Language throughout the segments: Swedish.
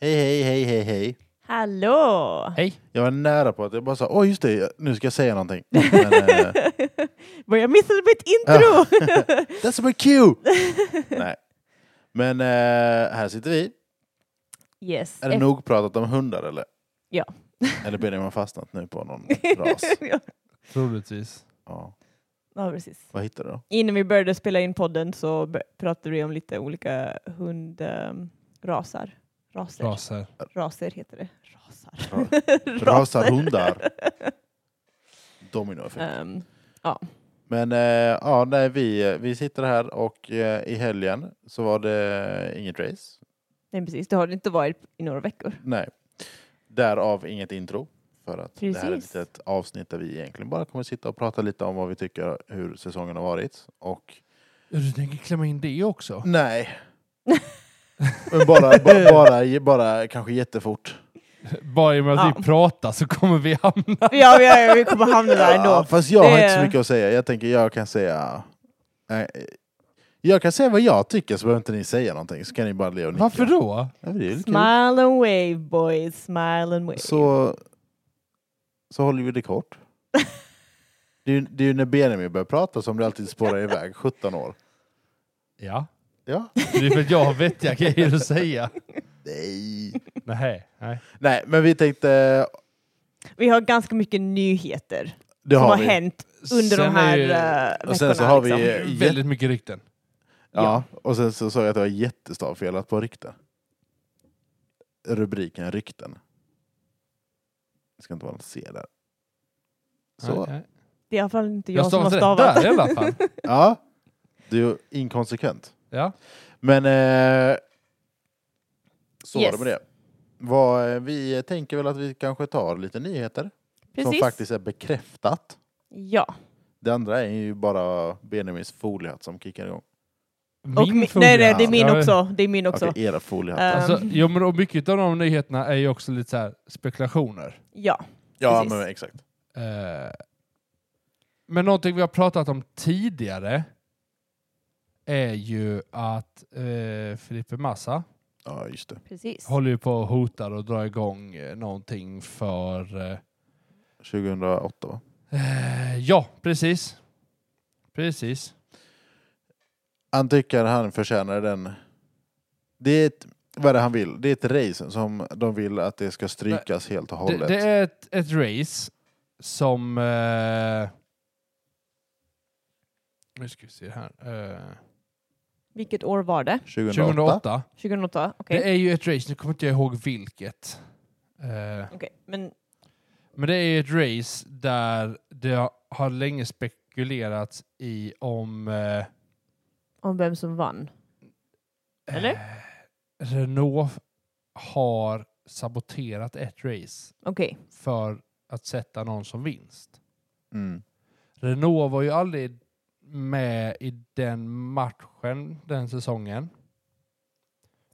Hej, hej, hej, hej, hej. Hallå! Hej! Jag var nära på att jag bara sa, åh just det, nu ska jag säga någonting. Men, eh, Ah. Vad jag missade mitt intro! that's my cue! Nej. Men eh, här sitter vi. yes. Är det Eft- nog pratat om hundar eller? Ja. Eller Benjamin har fastnat nu på någon ras? ja. Troligtvis. Ja. ja, precis. Vad hittar du då? Innan vi började spela in podden så b- pratade vi om lite olika hundrasar. Raser. Raser. Raser heter det. Rasar. Rasar hundar. Dominoeffekt. Ehm, Men eh, ja, nej, vi, eh, vi sitter här och eh, i helgen så var det inget race. nej, precis. Det har det inte varit i några veckor. Nej. Därav inget intro. För att det här är ett Precis. litet avsnitt där vi egentligen bara kommer sitta och prata lite om vad vi tycker hur säsongen har varit. Och Du tänker klämma in det också? nej. Men bara, bara, bara, bara kanske jättefort. Bara i och med att Ja. vi pratar så kommer vi hamna... Ja, vi, ja, vi kommer hamna Ja, där ändå. fast jag har inte så Det- mycket att säga. Jag tänker jag kan säga... Nej, jag kan säga vad jag tycker så behöver inte ni säga någonting. Så kan ni bara le och nicka. Varför då? Ja, det är ju kul. Smile and wave boys, smile and wave. så, så håller vi det kort. Det är, ju, det är ju när Benjamin börjar prata som det alltid spårar iväg, 17 år. Ja, Ja. det är för att jag har vettiga grejer att säga. Nej. Nej, nej. Nej, men vi tänkte... Vi har ganska mycket nyheter Det som har har vi. hänt under Sen de här är ju- eh, veckorna. Och sen så har vi... liksom. eh, jä- Väldigt mycket rykten. ja, och sen så sa jag att jag var jättestavfelat på rykten. Rubriken rykten. Det ska inte vara något C där. Så. Nej, nej. Det är i alla fall inte jag, Jag som har stavade rätt stavat. där i alla fall. Ja, du är inkonsekvent. Ja. Men eh, så var Yes. det med det. Vad, eh, vi tänker väl att vi kanske tar lite nyheter Precis. som faktiskt är bekräftat. Ja. Det andra är ju bara Benjamins foliehatt som kickar igång. Och Min mi- nej, fråga- nej, det är min Ja, också. Det är min också. Okej, era foliehattar. Eh, Alltså, Ehm. jo, men och mycket av de nyheterna är ju också lite så här spekulationer. Ja. ja, precis. men exakt. Eh, Men någonting vi har pratat om tidigare är ju att eh, Filipe Massa Ja, just det. Precis. håller ju på och hotar och drar igång eh, någonting för... eh, 2008 va? Eh, ja, precis. Precis. Han tycker han förtjänar den. Det är ett, vad är det han vill? Det är ett race som de vill att det ska strykas helt och Det, hållet. det är ett, ett race som... Eh, nu ska vi se här. Eh, Vilket år var det? 2008. 2008. 2008? Okej. Det är ju ett race, nu kommer inte jag ihåg vilket. Eh, Okej, Men Men det är ju ett race där det har länge spekulerats i om eh, om vem som vann? Eller? eh, Renault har saboterat ett race Okej. för att sätta någon som vinst. Mm. Renault var ju aldrig med i den matchen den säsongen.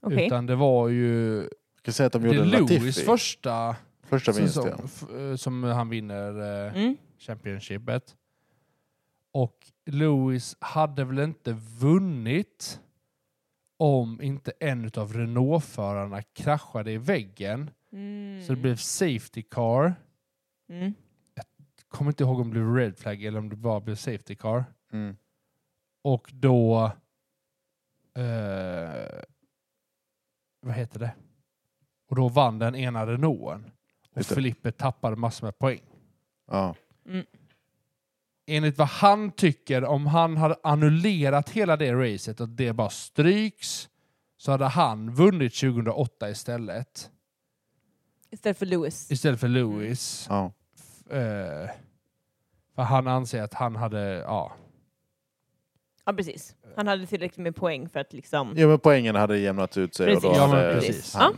Okej. Utan det var ju Jag kan säga att de det är gjorde en Lewis Latifi. första Första vinsten. säsong f- eh, som han vinner eh, Mm. Championshipet. Och Lewis hade väl inte vunnit om inte en av Renault-förarna kraschade i väggen. Mm. Så det blev safety car. Mm. Kommer inte ihåg om det blev red flag eller om det bara blev safety car. Mm. Och då... Eh, vad heter det? Och då vann den ena Renaulten. Och Just det. Filippe tappade massor med poäng. Ja. enligt vad han tycker, om han hade annullerat hela det racet och det bara stryks, så hade han vunnit 2008 istället. Istället för Lewis. Istället för Lewis. ja. F- eh, för han anser att han hade, ja. Ja, precis. Han hade tillräckligt med poäng för att liksom... Jo men poängen hade jämnat ut sig och då Precis. Ja, hade men precis. han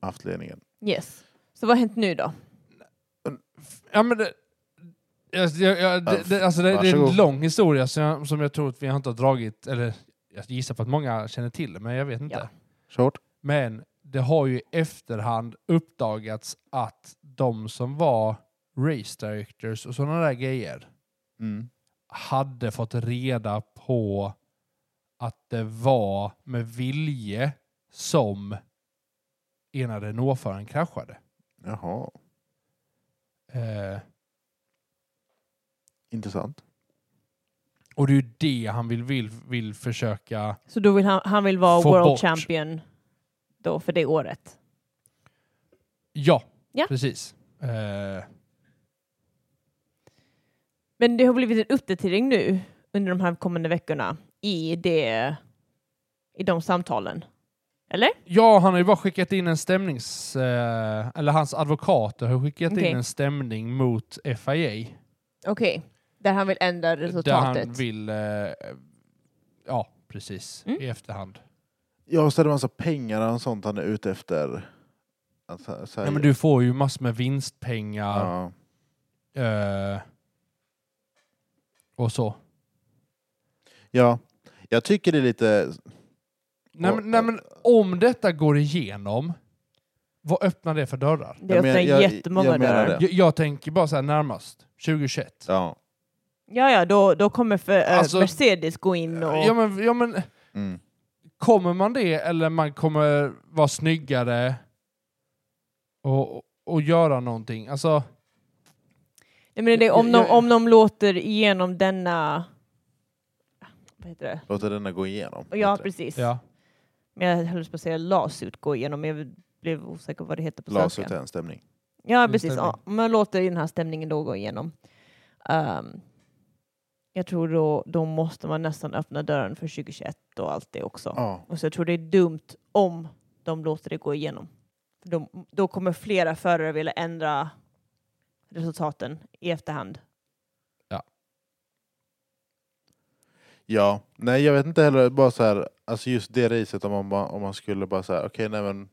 haft ledningen. Yes. Så vad har hänt nu då? Ja, men det, Jag, jag, jag, det, det, alltså det, det är en Varsågod. lång historia som jag, som jag tror att vi inte har dragit, eller jag gissar på att många känner till det, men jag vet inte. Ja. Short. Men det har ju i efterhand uppdagats att de som var race directors och sådana där grejer Mm. hade fått reda på att det var med vilje som ena Renault-föraren kraschade. Jaha, Eh, intressant. och det är ju det han vill, vill, vill försöka... Så då vill han, han vill vara Få world bort. champion då för det året. Ja, Ja. precis. Eh, Men det har blivit en uppdatering nu under de här kommande veckorna i, det, i de samtalen. Eller? ja, han har ju bara skickat in en stämnings... Eh, eller hans advokater har skickat Okej. in en stämning mot FIA. Okej. Där han vill ändra Där resultatet. han vill... Eh, ja, precis. Mm. I efterhand. Ja, och så är det massa pengar och sånt han är ute efter. Att så- så här- Ja, men du får ju massor med vinstpengar Ja. eh, och så. ja, jag tycker det är lite... Nej, men, nej, men om detta går igenom, vad öppnar det för dörrar? Det Jag men- öppnar jag- jättemånga jag menar dörrar. det. Ja. Jag, jag tänker bara så här närmast, 2021. Ja. Ja, ja, då, då kommer för, eh, Alltså- Mercedes gå in och... Ja, men, ja, men Mm. kommer man det eller man kommer vara snyggare och, och göra någonting? Alltså, Nej, men det är om, Jag- de, jag- om de låter igenom denna... Vad heter det? Låter denna gå igenom. Ja, Heter det. precis. ja. Men jag höll på att säga lasut gå igenom, men jag blev osäker på vad det heter på Laset svenska. är en stämning. Ja, En precis. stämning. Ja, om man låter den här stämningen då gå igenom. Ehm, jag tror då, då måste man nästan öppna dörren för 2021 och allt det också. Ja. Och så jag tror det är dumt om de låter det gå igenom. För de, då kommer flera förare vilja ändra resultaten i efterhand. ja. Nej, jag vet inte heller. Bara så här, alltså just det racet om man, bara- om man skulle bara säga okej, nej men...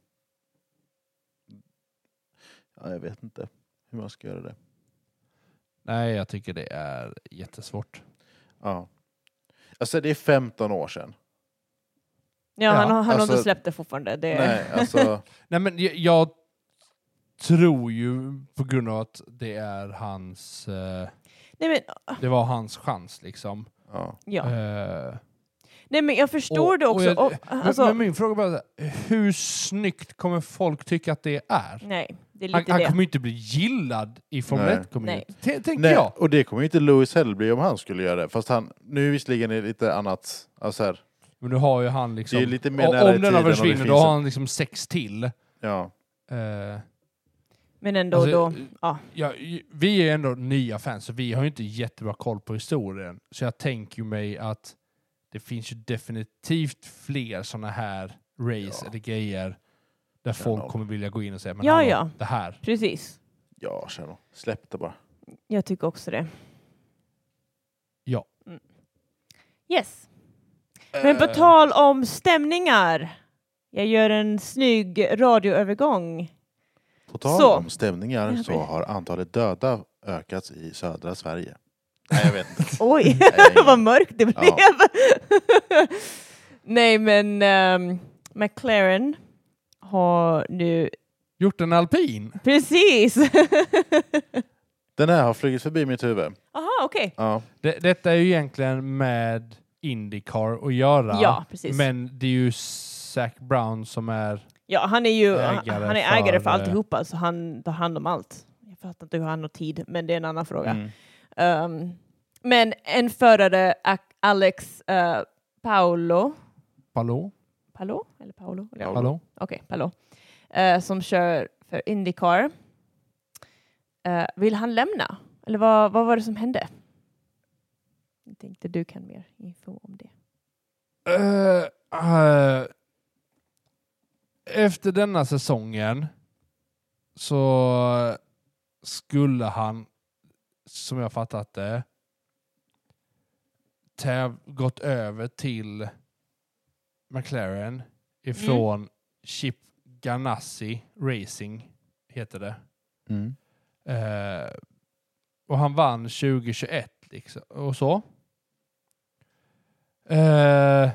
Ja, jag vet inte hur man ska göra det. Nej, jag tycker det är jättesvårt. Ja. Alltså det är 15 år sedan. Ja, Ja, han, har- han har alltså- inte släppt det fortfarande. Det, Nej, alltså... Nej, men jag, jag tror ju på grund av att det är hans... Eh, Nej, men, det var hans chans liksom. Ja. ja. Eh, Nej, men jag förstår och- det och också. jag- Och, men, alltså, men min fråga bara, är så här, hur snyggt kommer folk tycka att det är? nej, det är Han, Mm, lite han det. kommer ju inte bli gillad i Formel Nej. 1-community, Nej. T- tänker Nej, jag. och det kommer ju inte Lewis heller bli om han skulle göra det. Fast han, nu visserligen är det lite annat, alltså här, Men nu har ju han liksom... det är lite mer o- nära i om den tiden här och det försvinner, finns då en- har han liksom sex till. ja. Eh, Men ändå Alltså, då. Ja. ja, i- vi är ju ändå nya fans, så vi har ju inte jättebra koll på historien. Så jag tänker ju mig att det finns ju definitivt fler sådana här race Ja. eller grejer där folk nog. kommer vilja gå in och säga men Ja, hallå, ja. det här. Precis. Ja, känner Släpp det bara. Jag tycker också det. Ja. Mm. Yes. Men på Eh. tal om stämningar. Jag gör en snygg radioövergång. På tal Så. om stämningar Ja, så precis. har antalet döda ökats i södra Sverige. Nej, jag vet inte. Oj, Nej. vad mörkt det blev. Ja. Nej, men ehm, McLaren har nu... Gjort en alpin? Precis! Den här har flugit förbi mitt huvud. Aha, okej. Ja. Det, detta är ju egentligen med Indycar att göra. Ja, precis. Men det är ju Zac Brown som är... Ja, han är ju Ägare han, han är ägare för, för, eh, alltihopa, så han tar hand om allt. Jag fattar inte hur han har tid, men det är en annan fråga. Mm. Ehm, men en förare, Ac- Alex eh, Paolo, Hallå? Paolo? Eller Paolo? Ja. Paolo. Hallå? Okej, Paolo. Eh, som kör för Indycar. Eh, vill han lämna? Eller vad, vad var det som hände? Jag tänkte du kan mer info om det. Eh, eh, efter denna säsongen så skulle han, som jag fattat det, täv- gått över till McLaren ifrån Chip Ganassi Racing, heter det. Mm. Eh, Och han vann 2021 liksom, och så. Eh,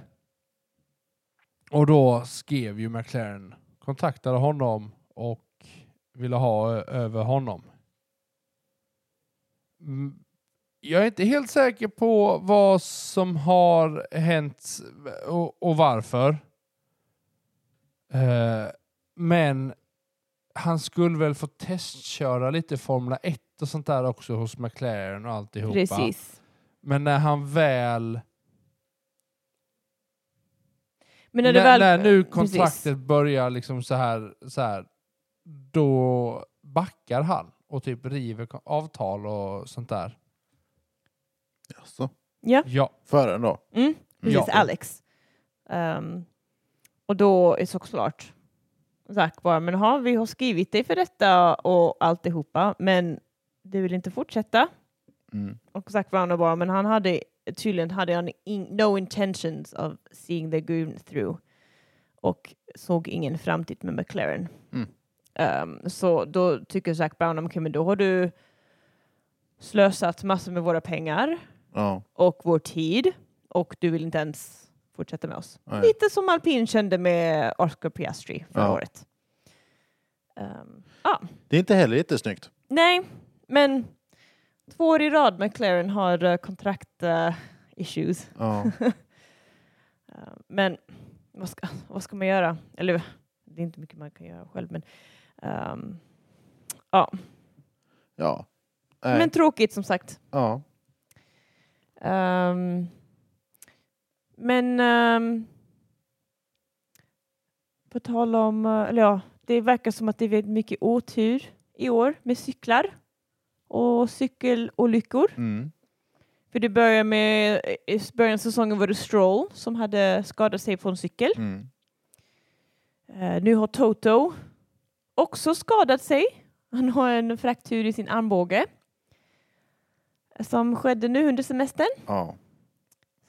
och då skrev ju McLaren, kontaktade honom och ville ha ö- över honom. Mm, Jag är inte helt säker på vad som har hänt och, och varför. Eh, men han skulle väl få testköra lite Formula 1 och sånt där också hos McLaren och alltihopa. Precis. Men när han väl Men när, när, du väl... när nu Precis. kontraktet börjar liksom så här, så här, då backar han och typ river kon- avtal och sånt där. Jaså? Ja, Ja, Föraren då? mm, precis. Ja. Alex. Ehm, och då är såklart Zack bara, men ha, vi har skrivit dig för detta och alltihopa, men du vill inte fortsätta. Mm. Och Zac Brown bara, men han hade tydligen hade han in, no intentions of seeing the goon through och såg ingen framtid med McLaren. Mm. Ehm, så då tycker Zac Brown, okej men då har du slösat massor med våra pengar Ja. och vår tid och du vill inte ens fortsätta med oss. nej. Lite som alpin kände med Oscar Piastri förra Ja. året. Ehm, ja. Det är inte heller jättesnyggt. Nej, men två år i rad McLaren har eh, kontrakt eh, issues. Ja. Eh, men vad ska, vad ska man göra? Eller det är inte mycket man kan göra själv, men, ehm, ja. Nej. men tråkigt som sagt. ja. Ehm, men ehm, på tal om, eh, eller ja, det verkar som att det är väldigt mycket otur i år med cyklar och cykelolyckor. Mm. För det började med, eh, i början av säsongen var det Stroll som hade skadat sig på en cykel. Mm. Eh, nu har Toto också skadat sig. Han har en fraktur i sin armbåge som skedde nu under semestern. ja.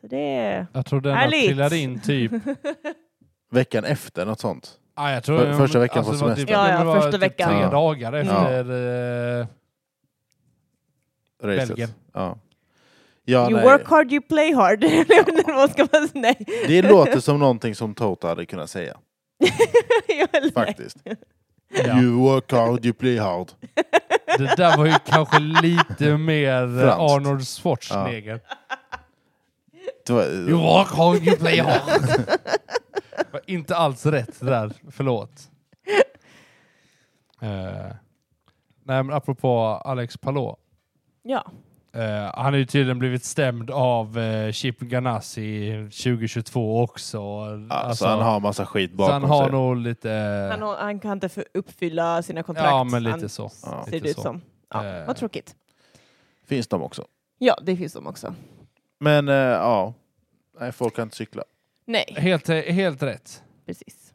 Så det är... jag tror den Härligt. trillade in typ... Veckan efter något sånt. Ja, jag tror, För- första veckan på det var semestern. Ja, ja, det var typ första veckan. Tre Ja. dagar efter... eh, Racet. Belgien. Ja. Ja, you nej. work hard, you play hard. Jag undrar vad ska man säga? Nej. Det låter som någonting som Toto hade kunnat säga. Ja, eller nej. Faktiskt. ja. You work hard, you play hard. Det där var ju kanske lite mer eh, Franskt. Arnold Schwarzenegger. Det var- You walk hard, you play hard. Var inte alls rätt det där, förlåt. Uh, nej men apropå Alex Palou. Ja, Eh, han har ju tydligen blivit stämd av eh, Chip Ganassi 2022 också. Alltså, han har massa skit så bakom han har sig. nog lite... eh, han, har- han kan inte för- uppfylla sina kontrakt. ja, men lite han, så. Ja. Ser lite det ut så. som. Ja, Eh. Vad tråkigt. Finns de också. Ja, det finns de också. Men eh, ja, nej, folk kan inte cykla. Nej, Helt, helt rätt. precis.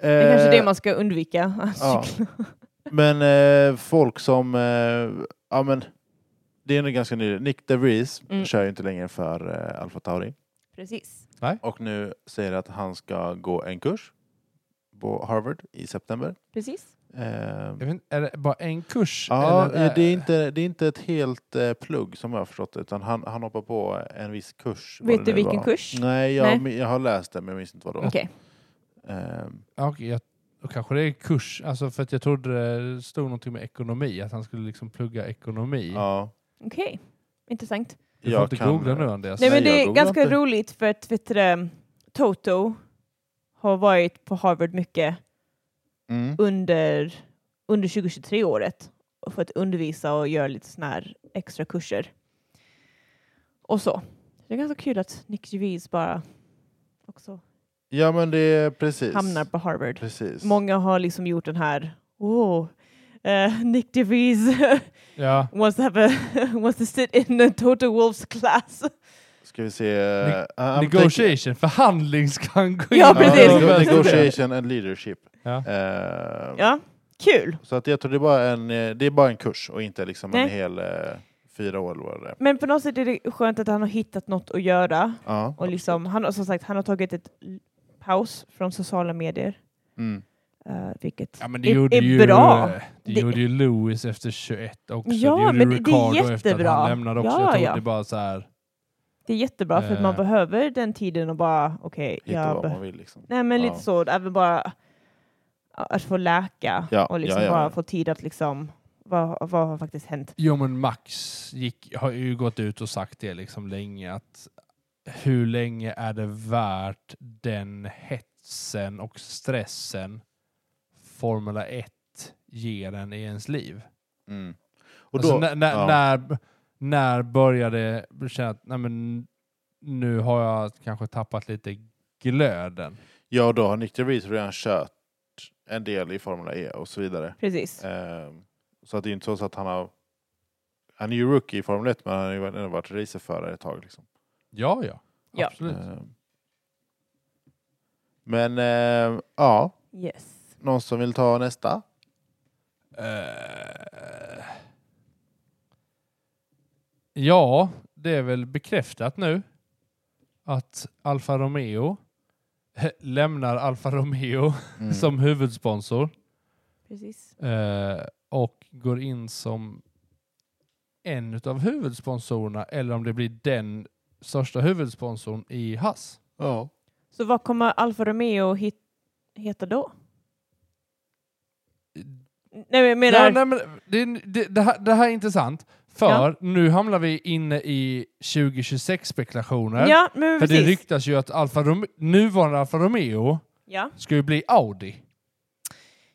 Det är kanske Eh, det man ska undvika. att ja. cykla. Men eh, folk som... Eh, ja, men, det är nog ganska nyligen. Nick DeVries Mm. kör ju inte längre för eh, Alfa Tauri. Precis. Och nu säger att han ska gå en kurs på Harvard i september. Precis. Eh, Jag vet, inte, är det bara en kurs? ja, eller eh, det är, inte, det är inte ett helt eh, plugg som jag har förstått det, utan han, han hoppar på en viss kurs. vad Vet det du nu vilken var. kurs? Nej jag, Nej. min- jag har läst det men jag minns inte vad det var. Okej. Ehm, Ja, okej, jag, då kanske det är kurs, alltså för att jag trodde det stod någonting med ekonomi, att han skulle liksom plugga ekonomi. ja, Okej. Intressant. du får inte googla nu Andreas. Nej, men Nej, jag det är googlar ganska inte. roligt för att vet du, det, Toto har varit på Harvard mycket Mm. under, under 2023-året för att undervisa och göra lite såna här extra kurser. Och så. Det är ganska kul att Nick Gervais bara också Ja men det är precis. hamnar på Harvard. Precis. Många har liksom gjort den här oh, eh, Nick DeVries Ja, wants to have a wants to sit in the Total Wolves class. Ska vi se. eh, I'm thinking- negotiation, förhandling ska han gå in Ja, i. precis. Ja, nego- Ja, negotiation and leadership. Ja. Ehm, Ja, kul. Så att jag tror det är bara en, eh, det är bara en kurs och inte liksom en Nej. hel eh, fyra år eller vad det är. Men på något sätt är det skönt att han har hittat något att göra Ja. och liksom han har som sagt han har tagit ett l- paus från sociala medier Mm. eh, Eh, vilket Ja, men det är- gjorde är ju, bra. eh, Det, Det- gjorde ju Lewis efter 21 också. Ja, det gjorde men det- det är Ricardo efter att jättebra. han lämnade också. Ja, jag tror ja. det är bara så här. det är jättebra för att man Eh. behöver den tiden och bara okej, Hitta jag vad be- man vill liksom. Nej men Ja. lite så, även bara att få läka Ja, och liksom ja, ja, bara ja. få tid att liksom, vad, vad har faktiskt hänt? Jo, men Max gick, har ju gått ut och sagt det liksom länge att hur länge är det värt den hetsen och stressen Formula 1 ger en i ens liv? Mm. Och alltså, då, när, när, ja. när, när började det känna att nej, men, nu har jag kanske tappat lite glöden? ja, då har Nick DeVries redan kört en del i Formula E och så vidare. Precis. Ehm, så att det är inte så att han har... Han är ju rookie i Formel 1 men han har ju ändå varit racerförare ett tag. Liksom. Ja, ja. Ja. Absolut. Ehm. Men ehm, ja, Yes. någon som vill ta nästa? Eh, Ja, det är väl bekräftat nu att Alfa Romeo lämnar Alfa Romeo Mm. som huvudsponsor Precis. eh, och går in som en av huvudsponsorerna eller om det blir den största huvudsponsorn i Haas. Ja. Så vad kommer Alfa Romeo hit, heta då? Nej men jag menar, Mm. Nej, nej, men det, det, det, här, det här är intressant, för Ja. nu hamnar vi inne i 2026-spekulationer. ja men För det precis. ryktas ju att Alfa Rome- nuvarande Alfa Romeo ja, ska ju bli Audi.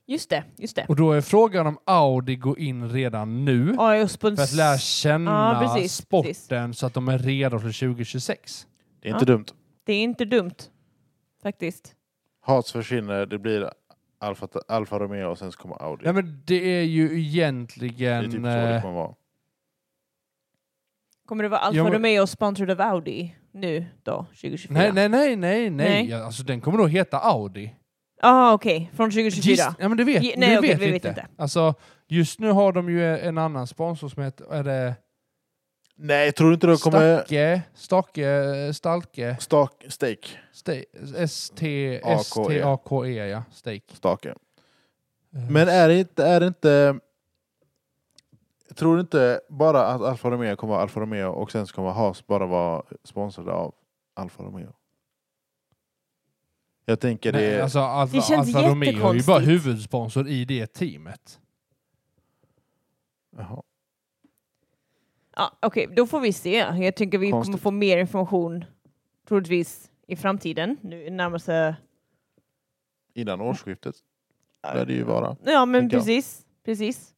just det, just det. Och då är frågan om Audi går in redan nu Ja, jag för att spons- lära känna Ja, precis, sporten precis. så att de är redo för 2026. Det är inte Ja. dumt. Det är inte dumt faktiskt. Haas försvinner, det blir Alfa, Alfa Romeo och sen så kommer Audi. Nej, men det är det ju är typ så egentligen... det eh, kommer vara. Kommer det vara Alfa Ja, men- Romeo sponsored av Audi nu då, 2024? Nej, nej, nej, nej, nej. Nej. Ja, Alltså, den kommer då heta Audi. Ah, okej, från 2024. Gis- ja, men det vet, Ge- nej, det okej, vet vi vi vet inte. inte. Alltså, just nu har de ju en annan sponsor som heter... Är det Nej, tror du inte det kommer... Stacke? Stacke? Stalke? Stak, stake. Ste- S-T- A-K-E. S-T-A-K-E, E, ja. Steak. Stake. Men är det inte... Är det inte tror du inte bara att Alfa Romeo kommer vara Alfa Romeo och sen så kommer Haas bara vara sponsrade av Alfa Romeo? Jag tänker det... Nej, alltså, Alfa, Det känns Alfa Romeo är ju bara jättekonstigt. huvudsponsor i det teamet. Jaha. Ja, Ah, Okej, då får vi se. Jag tänker vi kommer Konstigt. få mer information troligtvis i framtiden. Nu närmaste... Innan årsskiftet lär det ju vara. Ja, men Tänker jag. precis. Precis.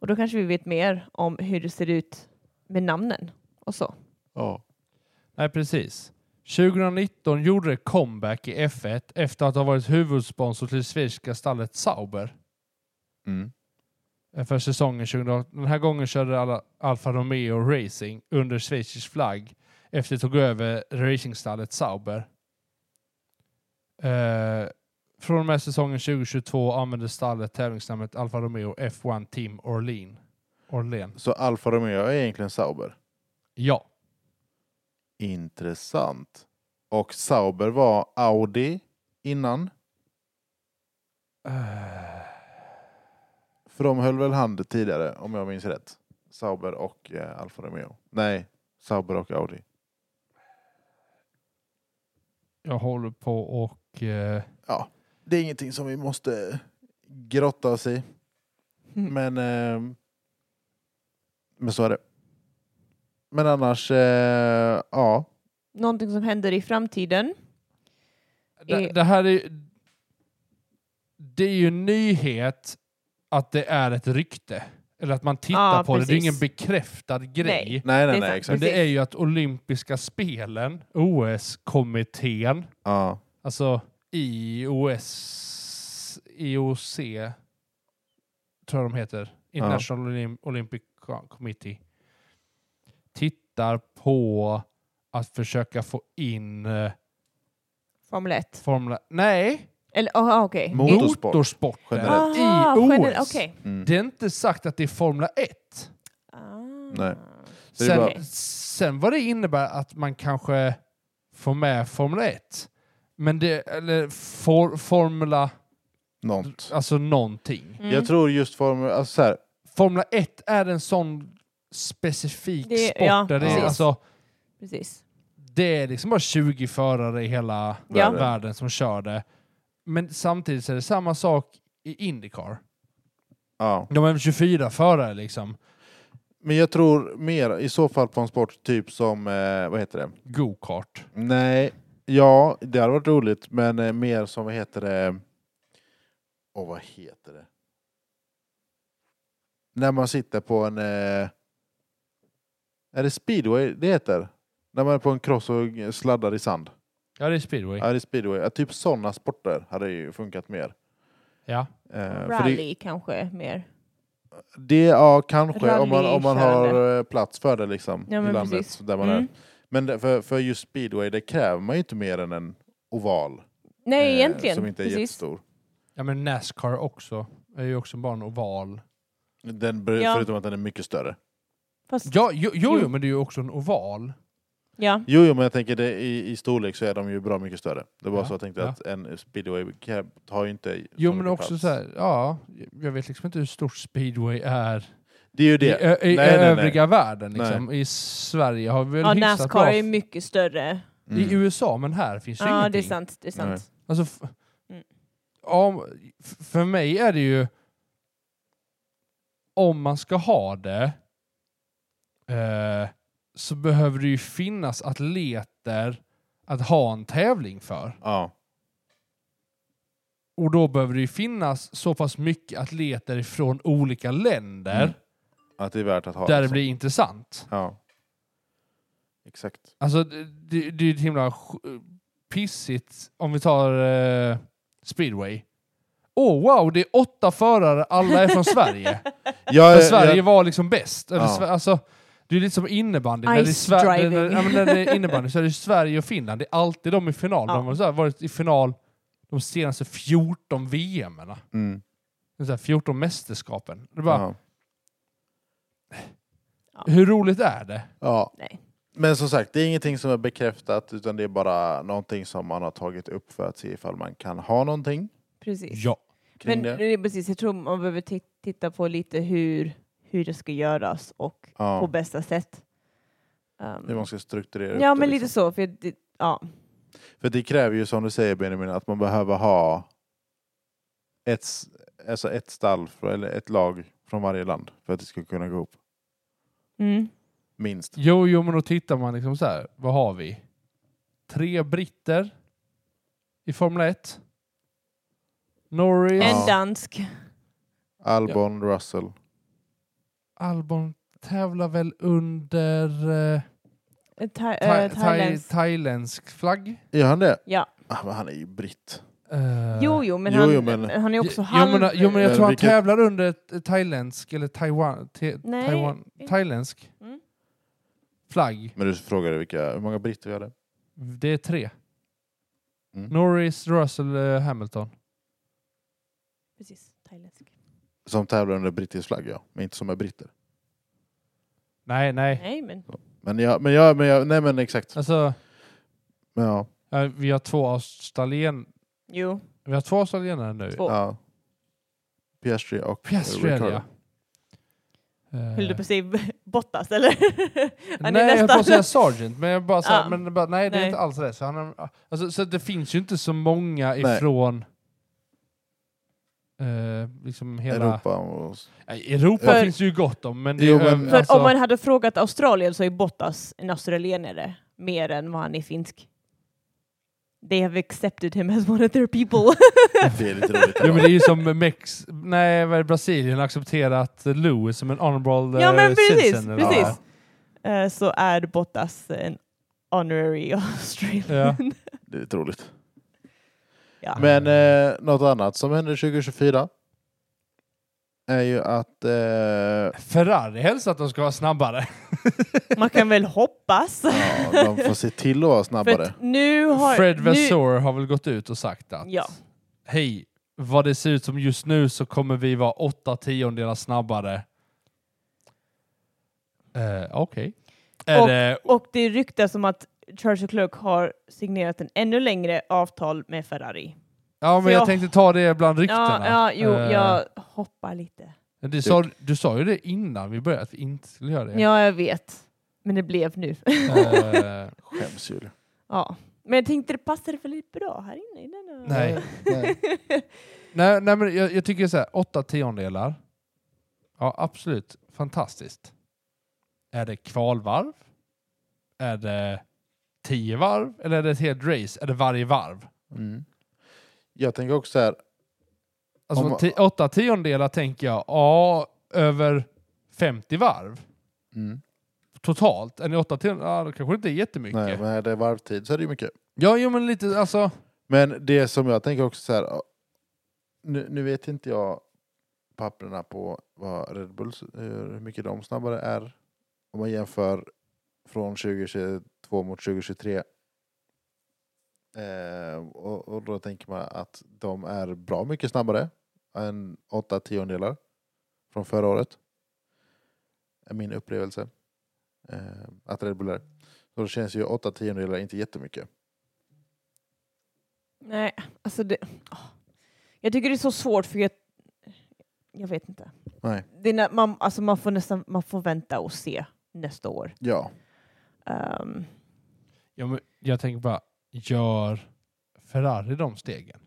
Och då kanske vi vet mer om hur det ser ut med namnen och så. Ja. Nej, precis. 2019 gjorde det comeback i F1 efter att ha varit huvudsponsor till svenska stallet Sauber Mm. eh, för säsongen 2018. Den här gången körde alla Alfa Romeo Racing under schweizisk flagg efter att tog över racingstallet Sauber. Eh, från och med säsongen 2022 använde stallet tävlingsnamnet Alfa Romeo F1 Team Orlean. Orlen. Så Alfa Romeo är egentligen Sauber? Ja. Intressant. Och Sauber var Audi innan? Eh, För de höll väl hand tidigare om jag minns rätt? Sauber och eh, Alfa Romeo. Nej, Sauber och Audi. Jag håller på och... Eh, Det är ingenting som vi måste grotta oss i. Mm. Men, eh, men så är det. Men annars, eh, ja. Någonting som händer i framtiden. det, Eh. det här är... Det är ju en nyhet att det är ett rykte. Eller att man tittar Ja, på det. Det är precis. ingen bekräftad grej. Nej, nej, Nej. Det nej, är sant. exakt. Men det Precis. är ju att olympiska spelen, OS-kommittén, Ja. alltså IOS, IOC, tror jag de heter, International Olymp- Olympic Co- Committee, tittar på att försöka få in eh, Formel 1. Formula... Nej! Eller, aha, okej. Mot- I- Motorsport. Motorsporten Generellt. Aha, i Ah, OS. generellt, Okej. Mm. Det är inte sagt att det är Formula 1. Ah. Nej. Så det är Sen, bara- sen vad det innebär att man kanske får med Formula 1. Men det, eller for, Formula Något. Alltså någonting. Mm. Jag tror just formel, alltså så här, Formula 1 är en sån specifik Det- sport. ja, där det, är, precis. alltså, Precis. det är liksom bara 20 förare i hela Ja. världen som kör det. Men samtidigt så är det samma sak i Indycar. ja. De är 24 förare liksom. Men jag tror mer i så fall på en sport typ som, eh, vad heter det? Go-kart. Nej, ja det hade varit roligt men eh, mer som, vad heter det? Åh vad heter det? När man sitter på en, eh, är det speedway det heter? När man är på en cross och sladdar i sand. Ja, det är speedway. Ja, det är speedway. Ja, typ sådana sporter hade ju funkat mer. Ja. Eh, för det, Rally kanske mer. det, ja kanske om man, om man har Rallykörande. eh, plats för det liksom Ja, i men landet precis. där man är. Mm. Men det- för, för just speedway, det kräver man ju inte mer än en oval. Nej, eh, egentligen. Som inte är Precis. jättestor. ja, men Nascar också. är ju också bara en oval. Den, ber- Ja. Förutom att den är mycket större. Fast, ja. Ja, jo, jo, jo, Jo. men det är ju också en oval. Jo, jo men jag tänker det, i, i storlek så är de ju bra mycket större. Det var Ja, så jag tänkte ja. att en speedway cab har ju inte Jo, mycket men också plats. så här, ja, jag vet liksom inte hur stort speedway är Det är ju i, det. ö, Nej, i nej, övriga världen. Liksom. I Sverige har vi väl ja hyfsat Nascar bra... är mycket större. Mm. I USA, men här finns ju Ja, ingenting. det är sant. Det är Nej. sant. Alltså, f- Mm. om, f- för mig är det ju... Om man ska ha det eh, så behöver det ju finnas atleter att ha en tävling för. Ja. Och då behöver det ju finnas så pass mycket atleter från olika länder Mm. Att det är värt att ha. där det liksom. blir intressant. Ja. Exakt. Alltså, det, det, det är ju ett himla sj- pissigt om vi tar eh, speedway. Åh oh, wow, det är åtta förare, alla är från Sverige. Jag, Där jag- Sverige var liksom bäst. Eller, Ja. Sve- alltså, det är lite som innebandy. När det, är Ice Sver- driving. när, ja, men när det är innebandy så är det Sverige och Finland. Det är alltid de i final. Ja. De har så här varit i final de senaste 14 VM-erna. mm. De så här 14 mästerskapen. Det är bara, ja. Hur roligt är det? Ja. Nej. Men som sagt, det är ingenting som är bekräftat utan det är bara någonting som man har tagit upp för att se ifall man kan ha någonting Precis. Ja. kring Men det. det är precis, jag tror man behöver ti- titta på lite hur, hur det ska göras och på Ja. bästa sätt. Ehm, Hur man ska strukturera ja, upp men det, lite liksom. så. För det, ja. För det kräver ju som du säger Benjamin att man behöver ha ett, s- alltså ett stall för, eller ett lag från varje land för att det ska kunna gå ihop. Mm. Minst. Jo, jo, men då tittar man liksom så här. Vad har vi? Tre britter i Formel 1. Norris, Ja. En dansk. eh, Albon, Russell. Albon tävlar väl under eh, en Tha- thai- eh, thai- thailändsk. thailändsk flagg. Gör han det? Ja. Ah, men han är ju britt. Eh, Jo, jo, men, Jo, han, jo, men- han är också jo, halv... men, jo, men jag Eh, tror han vilket- tävlar under ett thailändsk eller Taiwan, te, Nej. Taiwan, thailändsk Mm. flagg. Men du frågade vilka, hur många britter vi hade? Det är tre. Mm. Norris, Russell, eh, Hamilton. Precis, thailändsk. Som tävlar under brittisk flagg ja, men inte som är britter. Nej, nej. Nej, men Men jag, men jag, men jag, nej men exakt. Alltså, Men ja, eh, vi har två australien... jo. Vi har två australienare nu. Två. ja. Piastri och Piastri är det, ja. Eh, Höll du på att säga Bottas, eller? Han är nej, jag höll på nästan- att säga Sargent, men jag bara, så här, Ja. men bara nej, det är Nej. inte alls det. Så, han, har- alltså, så det finns ju inte så många Nej. ifrån eh, liksom hela... Europa, Europa. Och, Europa För- finns det ju gott om, men det Jo, är men- över- För alltså, om man hade frågat Australien så är Bottas en australienare mer än vad han är finsk. They have accepted him as one of their people. det är lite roligt. Jo men det är ju som Mex... Nej, vad är det, Brasilien har accepterat Lewis som en honorable Ja, eh, men precis, citizen eller vad det precis. är. Eh, så är Bottas en honorary Australian. Ja. Det är lite roligt. Ah. Ja. Men eh, något annat som händer 2024 är ju att eh, Ferrari hälsar att de ska vara snabbare. Man kan väl hoppas. ja, de får se till att vara För snabbare. att nu har... Fred nu- Vasseur har väl gått ut och sagt att Ja. hej, vad det ser ut som just nu så kommer vi vara åtta tiondelar snabbare. Eh, Okej. Är Och- det- Och det ryktas om att Charles Leclerc har signerat en ännu längre avtal med Ferrari. Ja, men För jag, jag- tänkte ta det bland ryktena. Ja, ja, jo, Eh, jag hoppar lite. Du sa, du sa ju det innan vi började, att vi inte skulle göra det. Ja, jag vet. Men det blev nu. Eh, Skäms Julia. ja. Men jag tänkte det passade väldigt bra här inne. I denna. Nej. Nej. nej, nej, men jag, jag tycker så här, åtta tiondelar. Ja, absolut. Fantastiskt. Är det kvalvarv? Är det tio varv? Eller är det ett helt race? Är det varje varv? Mm. Jag tänker också så här, Alltså Om- ti, åtta tiondelar tänker jag, ja, över 50 varv mm. totalt. Är det åtta tiondelar? Ja, då kanske inte är jättemycket. nej, men är det varvtid så är det ju mycket. Ja, jo, men lite alltså. Men det som jag tänker också så här, ja, nu, nu vet inte jag papperna på vad Red Bulls, hur mycket de snabbare är om man jämför från 2022 mot 2023. Eh, och, och då tänker man att de är bra mycket snabbare än åtta tiondelar från förra året. Är min upplevelse. Eh, att Red Bull är. Så då känns ju åtta tiondelar inte jättemycket. Nej, alltså det... åh. Jag tycker det är så svårt för jag... Jag vet inte. Nej. Det är när man, alltså man, får nästan, man får vänta och se nästa år. Ja. Ehm, Ja, men jag tänker bara, gör Ferrari de stegen?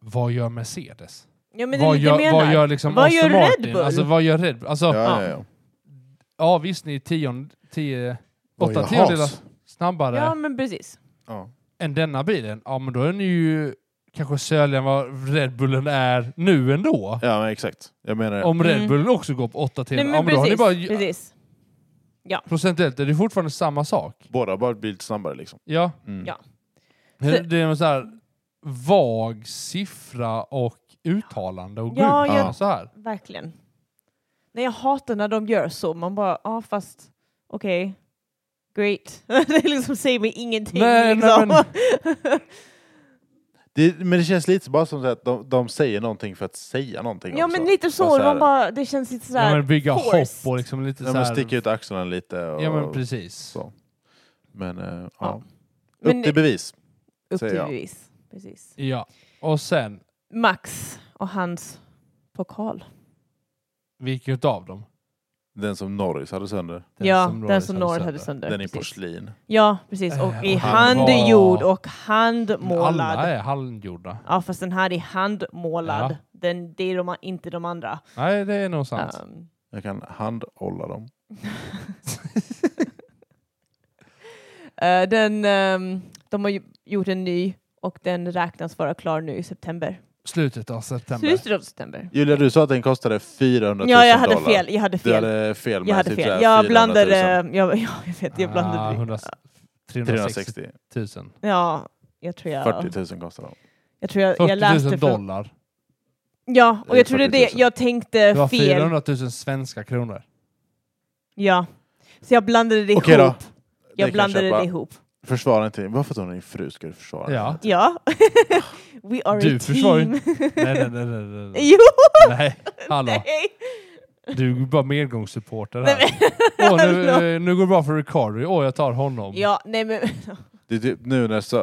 Vad gör Mercedes? ja, men det är vad, lite gör, mer där. vad gör liksom Vad Aston gör Red Martin? Bull? Alltså, vad gör Red Bull? Alltså, ja. ja, Ja. ja, ja. visst, ni är tion, tio, Vad åtta gör tiondelar Haas? snabbare Ja, men precis. Ja. än denna bilen. Ja, men då är ni ju kanske söligare än vad Red Bullen är nu ändå. ja, men exakt. Jag menar det. Om Red Mm. Bullen också går på åtta Nej, tiondelar, men ja, men då har ni precis. bara... precis. Procentuellt är det fortfarande samma sak. Båda har bara blivit snabbare liksom. Ja. Mm. Ja. Det det är en så här vag siffra och uttalande och gå Ja, ut jag- med så här. Verkligen. Nej, jag hatar när de gör så. Man bara, ja ah, fast okej, great. det liksom säger mig ingenting. Nej, nej, liksom. men- Det, men det känns lite bara som så att de, de säger någonting för att säga någonting ja, också. men lite så. Bara så här- man bara, det känns lite Ja, sådär men bygga forced. hopp och liksom lite Ja, så men här. sticker ut axlarna lite. Och, Ja men precis. Så. Men, eh, ja. Ja. Upp Men- till bevis. upp säger till jag. bevis. Precis. Ja. Och sen, Max och hans pokal. vilket av dem? Den som Norris hade sönder. ja, den som Norris Norris hade sönder. Den i precis. porslin. Ja, precis. Eh, Och i och han handgjord var- och handmålad. Alla är handgjorda. Ja, fast den här är handmålad. Ja. Den, det är de, inte de andra. Nej, det är nog sant. Um, Jag kan handhålla dem. Eh, den, ehm, de har ju gjort en ny och den räknas vara klar nu i september. Slutet av september. Slutet av september. Julia, du sa att den kostade 400 000 Ja, jag hade dollar. fel. Jag hade Du fel. hade fel. jag med hade typ fel. så här 400 000. Jag blandade... Jag, ja, jag vet, jag Ah, blandade... 100, 360 360. 000. Ja, jag tror jag... 40 000 kostar de. Jag tror jag, jag 40 000 läste... Från, dollar. ja, och Eller jag trodde 40 det. 000. Jag Det var tänkte fel. 400 000 svenska kronor. Ja. Så jag blandade det Okej då. ihop. kan Jag jag blandade köpa. det ihop. Försvara inte. Varför tror ni din fru ska du försvara? Ja. Ja. We are Du a försvarar ju team. Nej, nej, nej, nej, nej, nej. Jo! nej. Hallå, Nej. du är bara medgångssupporter Nej, här. men, Åh, nu, eh, nu går det bra för Ricardo. Åh, jag tar honom. ja, nej men... Det är typ nu när så...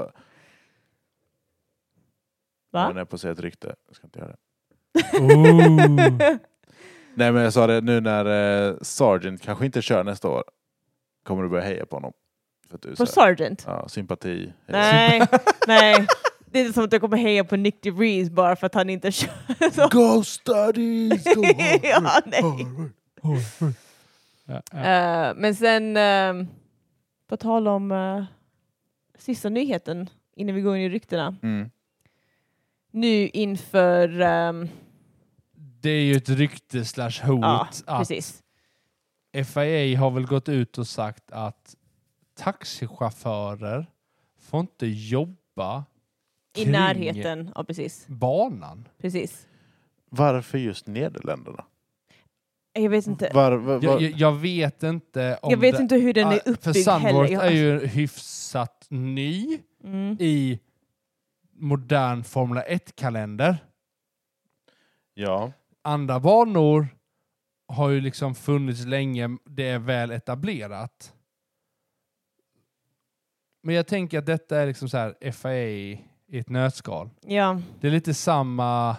Va? Jag är på att säga ett rykte. Jag ska inte göra det. Ooh. Nej men jag sa det, nu när eh, Sargent kanske inte kör nästa år kommer du börja heja på honom. För att du är På så här- Sergeant? Ja, sympati. Nej, nej. Det är inte som att jag kommer heja på Nick DeVries bara för att han inte kör. Så. Go studies! Go hard, ja, nej. hard. Ja, ja. Eh, men sen, uh, på tal om eh, sista nyheten innan vi går in i ryktena. Mm. Nu inför, ehm, Det är ju ett rykte slash hot ja att precis. FIA har väl gått ut och sagt att taxichaufförer får inte jobba I kring närheten, ja precis. banan. precis. Varför just Nederländerna? Jag vet inte, Var, var, var, Jag, jag, jag vet inte om jag vet det, inte hur den är Ah, För uppbyggd heller. Sandworth Jag, är ju hyfsat ny mm. i modern Formel 1-kalender. ja. Andra banor har ju liksom funnits länge, det är väl etablerat. Men jag tänker att detta är liksom så här FIA i ett nötskal. Ja, Det är lite samma...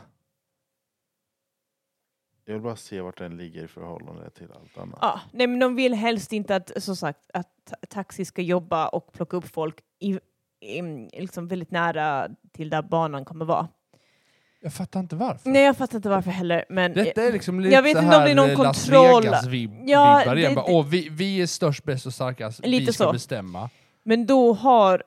Jag vill bara se vart den ligger i förhållande till allt annat. ja. Nej, men de vill helst inte att, som sagt, att ta- taxi ska jobba och plocka upp folk i, i, liksom väldigt nära till där banan kommer vara. Jag fattar inte varför. Nej, jag fattar inte varför heller. Men Detta är liksom lite Jag vet så inte om det är här någon Las kontroll. Vegas-vibbar Ja, igen. det- Bara, Åh, vi, vi är störst, bäst och starkast. vi Lite ska så. bestämma. Men då har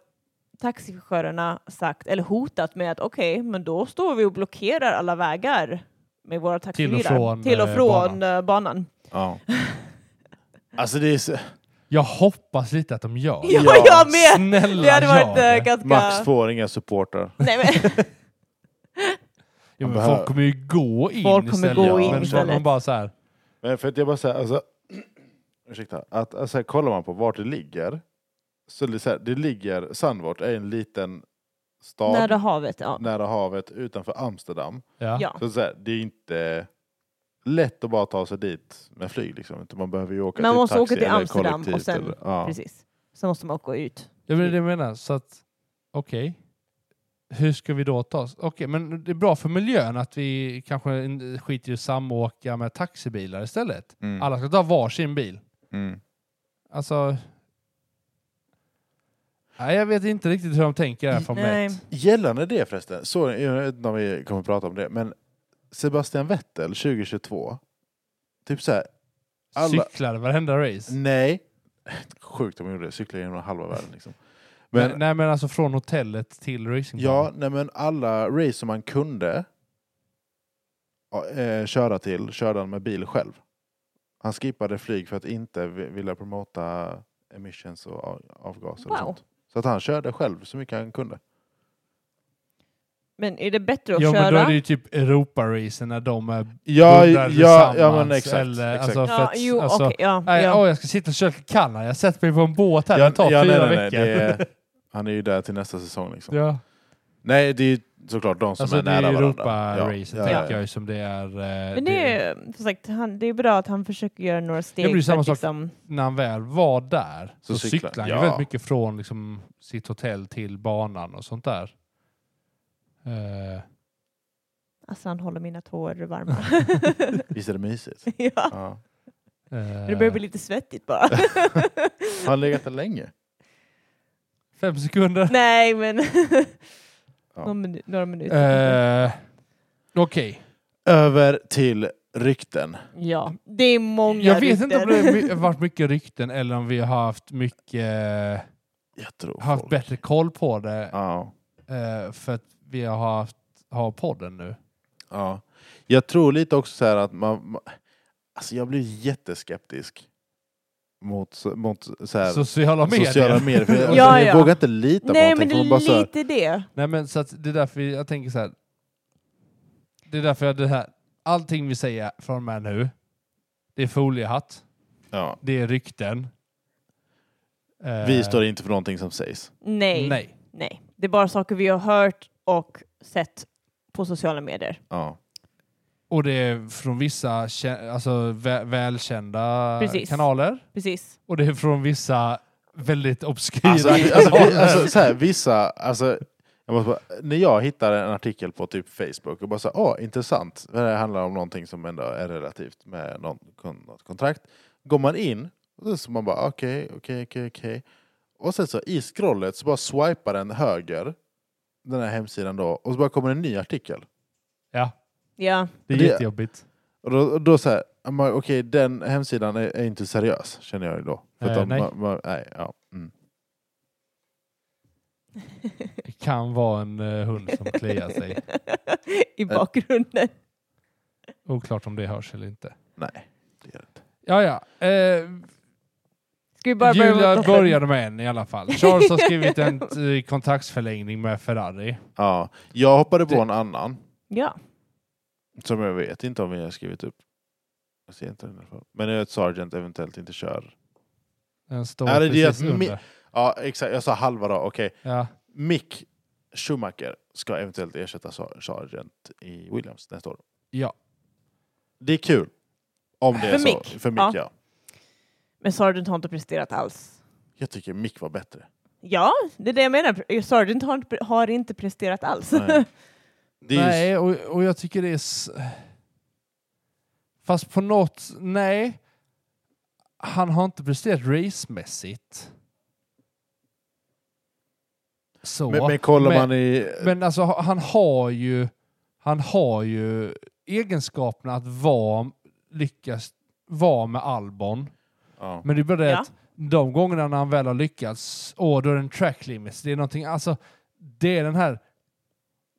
taxichaufförerna sagt, eller hotat med att okej, men då står vi och blockerar alla vägar med våra taxibilar. från, Till och eh, från eh, banan. Ja. Alltså det är så... Jag hoppas lite att de gör Ja, Ja, jag med! Snälla Det hade varit gör eh, det. ganska... Max får inga supportrar. Nej, men, Jo, men Man behöver- Folk kommer ju gå in Folk kommer istället. gå in men istället. De bara så här, Men för att jag bara säger, alltså, ursäkta, att alltså, kollar man på vart det ligger, så det, är så här, det ligger, Sandvort är en liten stad nära havet, ja. nära havet utanför Amsterdam. ja. ja. Så, det är så här, det är inte lätt att bara ta sig dit med flyg liksom. utan Man behöver ju åka Man till måste taxi åka till eller Amsterdam och kollektivt sen- eller- ja. Precis. Sen måste man åka ut. Det är väl det jag menar. Så att, okej. Hur ska vi då ta oss? Okej, men det är bra för miljön att vi kanske in- skiter i att samåka med taxibilar istället. Mm. Alla ska ta varsin bil. Mm. Alltså... Nej, jag vet inte riktigt hur de tänker här från Nej. ett. Gällande det förresten, så, jag vet inte om vi kommer prata om det, men Sebastian Vettel 2022, typ så här, alla, Mm. Cyklar varenda race. Nej. Sjukt om jag gjorde det. Cyklade genom halva världen. Liksom. Men, Men, nej, men alltså från hotellet till racing. ja, nej, men alla race som man kunde ja, eh, köra till körde han med bil själv. Han skippade flyg för att inte vi- vilja promota emissions och av- avgaser. Wow. Och sånt. Så att han körde själv så mycket han kunde. Men är det bättre att Ja, men då köra? är det ju typ Europa-racen när de är Ja, ja, bullrar ja men tillsammans, exakt. Eller, exakt. Alltså, för Ja, att, jo, alltså, okej, ja, Nej, ja. åh, jag ska sitta och köra till Kanada. Jag sätter mig på en båt här. det tar fyra det veckor. är, han är ju där till nästa säsong. Liksom. ja. Nej, det är ju såklart de som Alltså, är det är nära varandra. Europa-racet, Ja, ja, tänker ja. jag, ju, som det är... eh, Men det är, som sagt, han, det är bra att han försöker göra några steg. blir för samma att sak. Liksom, När han väl var där så, Så cyklar- cyklade han ju ja. väldigt mycket från liksom, sitt hotell till banan och sånt där. Eh, alltså han håller mina tår varma. Visst är det mysigt? ja. Ja. eh, Det börjar bli lite svettigt bara. Har han legat där länge? Fem sekunder. Nej, men Ja. någon minu- några minuter. kanske. Eh, Okej. Över till rykten. ja, det är många Jag vet inte om det har rykten. my- varit mycket rykten eller om vi har haft mycket... Jag tror haft folk- bättre koll på det Ja, eh, för att vi har haft har podden nu. ja. Jag tror lite också så här att man... man alltså jag blir jätteskeptisk mot, så- mot så här, Sociala medier. sociala medier. För jag, Ja, jag ja. vågar inte lita på Nej, någonting. men det för man bara så är här, lite det. Nej, men så att det är därför jag tänker så här. Det är därför jag det här. Allting vi säger från och med nu. Det är foliehatt. ja, Det är rykten. Eh, vi står inte för någonting som sägs. Nej, nej. Nej. Det är bara saker vi har hört och sett på sociala medier. Ja. Och det är från vissa kä- alltså, vä- välkända Precis. kanaler. Precis. Och det är från vissa väldigt obskyra Alltså, vi, kanaler. alltså, vi, alltså, så här, vissa... Alltså, jag måste bara, när jag hittar en artikel på typ Facebook och bara så här, åh intressant, det här handlar om någonting som ändå är relativt med någon, kon- något kontrakt. Går man in och så- så man bara okej, okej, okej, okej. Och sen så i scrollet så bara swipar den höger, den här hemsidan då, och så bara kommer en ny artikel. ja, Ja, det är Det- jättejobbigt. Och då, och då så här, ja, men okej den hemsidan är, är inte seriös känner jag ju då. För att Eh, de- nej. Man, man, nej ja, mm. Det kan vara en eh, hund som kliar sig. i bakgrunden. Oklart om det hörs eller inte. Nej, det är det inte. Ja, ja. Eh, Ska vi bara börja Julia med- började med en i alla fall. Charles har skrivit en eh, kontraktsförlängning med Ferrari. Ja, jag hoppade på Det- en annan. Ja, Som jag vet inte om vi har skrivit upp. Jag ser inte den i alla fall. Men det är att Sargent eventuellt inte kör. Den står Ja, det är precis det att mi- under. Ja, exakt. Jag sa halva då. Okej. Ja. Mick Schumacher ska eventuellt ersätta Sa- Sargent i Williams nästa år. ja. Det är kul. Om det är För så. Mick. För Mick, Ja. ja. men Sargent har inte presterat alls. Jag tycker Mick var bättre. Ja, det är det jag menar. Sargent har inte, har inte presterat alls. Nej. Det är ju- Nej, och, och jag tycker det är... s- Fast på något... Nej. Han har inte presterat racemässigt. Så. men, men kollar men, man i... men alltså ha- han har ju... Han har ju egenskaperna att vara, lyckas vara med Albon. ja. Men det är bara det Ja. att de gångerna när han väl har lyckats, åh då är det en track limits. Det är någonting, alltså det är den här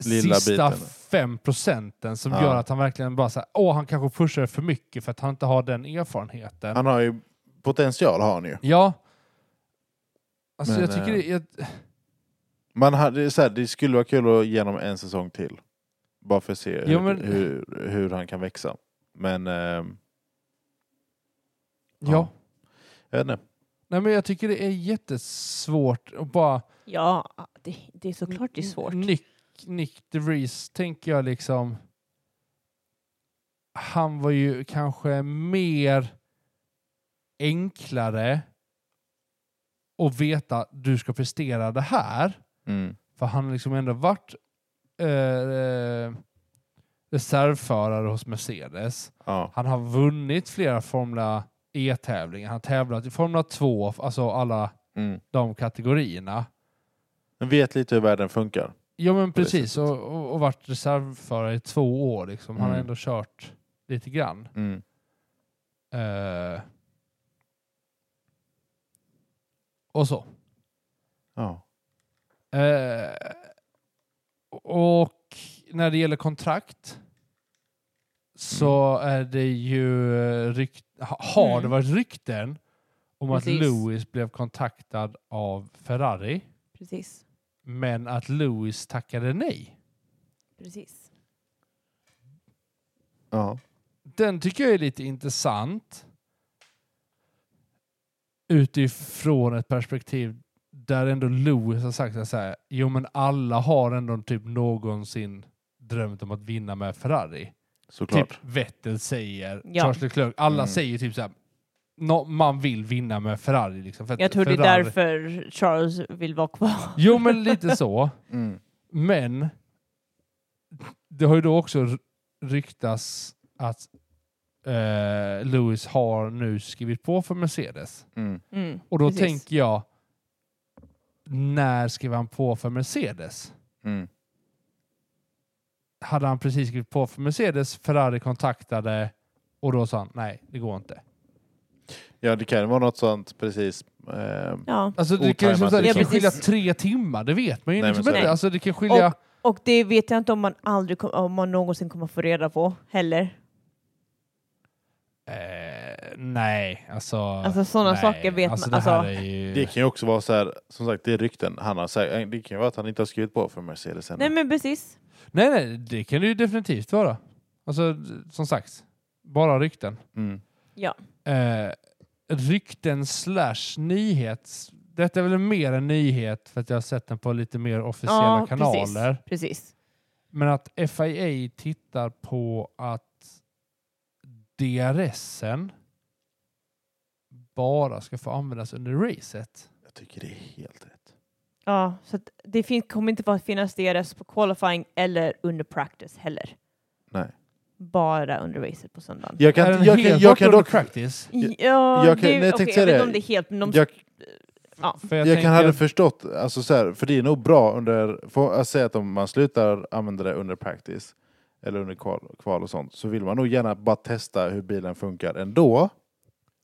Lilla sista biten. fem procenten som Ja. gör att han verkligen bara såhär, åh han kanske pushar för mycket för att han inte har den erfarenheten. Han har ju potential har han ju. Ja. Alltså Men, jag tycker eh, det, jag, Man hade, så här, det skulle vara kul att ge honom en säsong till. Bara för att se hur, Jo, men- hur, hur han kan växa. Men... ehm, ja. Jag vet inte. Nej men jag tycker det är jättesvårt att bara Ja, det, det är såklart det är svårt. Nick, Nick DeVries tänker jag liksom. Han var ju kanske mer enklare att veta du ska prestera det här. Mm. För han har liksom ändå varit eh, reservförare hos Mercedes. Ja. Han har vunnit flera Formula E-tävlingar. Han har tävlat i Formula 2, alltså alla Mm. de kategorierna. Men vet lite hur världen funkar. Ja men på det precis, sättet. och, och, och varit reservförare i två år. Liksom. Han har Mm. ändå kört lite grann. Mm. Eh. Och så. Ja. Eh. Och när det gäller kontrakt så Mm. är det ju eh, rykt, ha- har det Mm. varit rykten om Precis. att Lewis blev kontaktad av Ferrari Precis. men att Lewis tackade nej. Precis. ja. Den tycker jag är lite intressant. Utifrån ett perspektiv där ändå Lewis har sagt att så här, jo men alla har ändå typ någonsin drömt om att vinna med Ferrari. Såklart. Typ Vettel säger, Ja. Charles Leclerc, alla Mm. säger typ så här, "Nå- man vill vinna med Ferrari. Liksom, för att Jag tror det är Ferrari- därför Charles vill vara kvar. Jo men lite så. Mm. Men det har ju då också r- ryktats att eh, Lewis har nu skrivit på för Mercedes. Mm. Mm, Och då precis. tänker jag, när skrev han på för Mercedes? Mm. Hade han precis skrivit på för Mercedes, Ferrari kontaktade och då sa han nej, det går inte. Ja, det kan ju vara något sånt precis. Ehm, Ja. Alltså det kan, ju som Otajmat, sagt, det liksom. kan skilja Ja, tre timmar, det vet man ju Nej, men liksom så är inte. det. Alltså det kan skilja... Och det vet jag inte om man, aldrig kom, om man någonsin kommer få reda på heller. Eh, nej, alltså... Alltså sådana nej. saker vet alltså, man. Det, här Alltså, är ju... Det kan ju också vara så här, som sagt, det är rykten. Han har sagt, det kan ju vara att han inte har skrivit på för Mercedes ännu. nej men precis. Nej, nej, det kan det ju definitivt vara. Alltså, d- som sagt, bara rykten. Mm. Eh, rykten slash nyhet. Detta är väl mer en nyhet för att jag har sett den på lite mer officiella Ja, precis. kanaler. Precis. Men att FIA tittar på att DRSen bara ska få användas under racet. Jag tycker det är helt rätt. Ja, så att det fin- kommer inte bara finnas DRS på qualifying eller under practice heller. Nej. bara under racet på söndagen. Jag Är kan, den jag helt kan, jag bort kan under dock... practice? Ja, jag kan- det, nej, jag okej, tänkte jag säga vet det. inte om det är helt, men de, Jag, ja, För jag, tänker kan hade att- förstått, alltså så här, för det är nog bra under, för att säga att om man slutar använda det under practice eller under kval, kval och sånt, så vill man nog gärna bara testa hur bilen funkar ändå.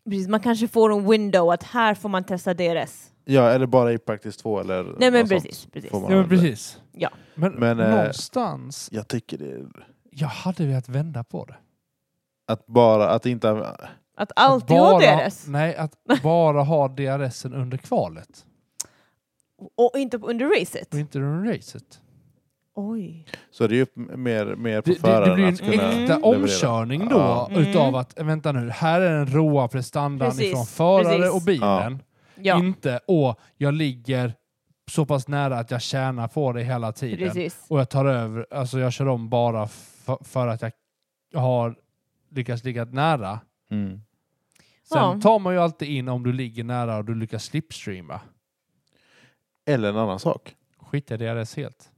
precis, man kanske får en window att här får man testa DRS. Ja, eller bara i practice 2 eller Nej men något sånt. precis, precis. får man. Ja, men precis. Ja. Men, Men, eh, någonstans Jag tycker det är... Jag hade velat vända på det. Att bara, att inte... Att alltid Att ha bara- DRS. Nej, att bara ha DRSen under kvalet Och inte på- under racet. och inte under racet. Oj. Så det är ju mer, mer på Det, det, det föraren blir att en kunna Mm. äkta leverera. omkörning då Ja. Mm. utav att, vänta nu, här är den råa prestandan Precis, ifrån förare precis. och bilen. Ja, Inte, åh, jag ligger så pass nära att jag tjänar på det hela tiden. precis. Och jag tar över, alltså jag kör om bara f- för att jag har lyckats ligga nära. Mm. Sen Ja. tar man ju alltid in om du ligger nära och du lyckas slipstreama. eller en annan sak. Skita i DRS helt.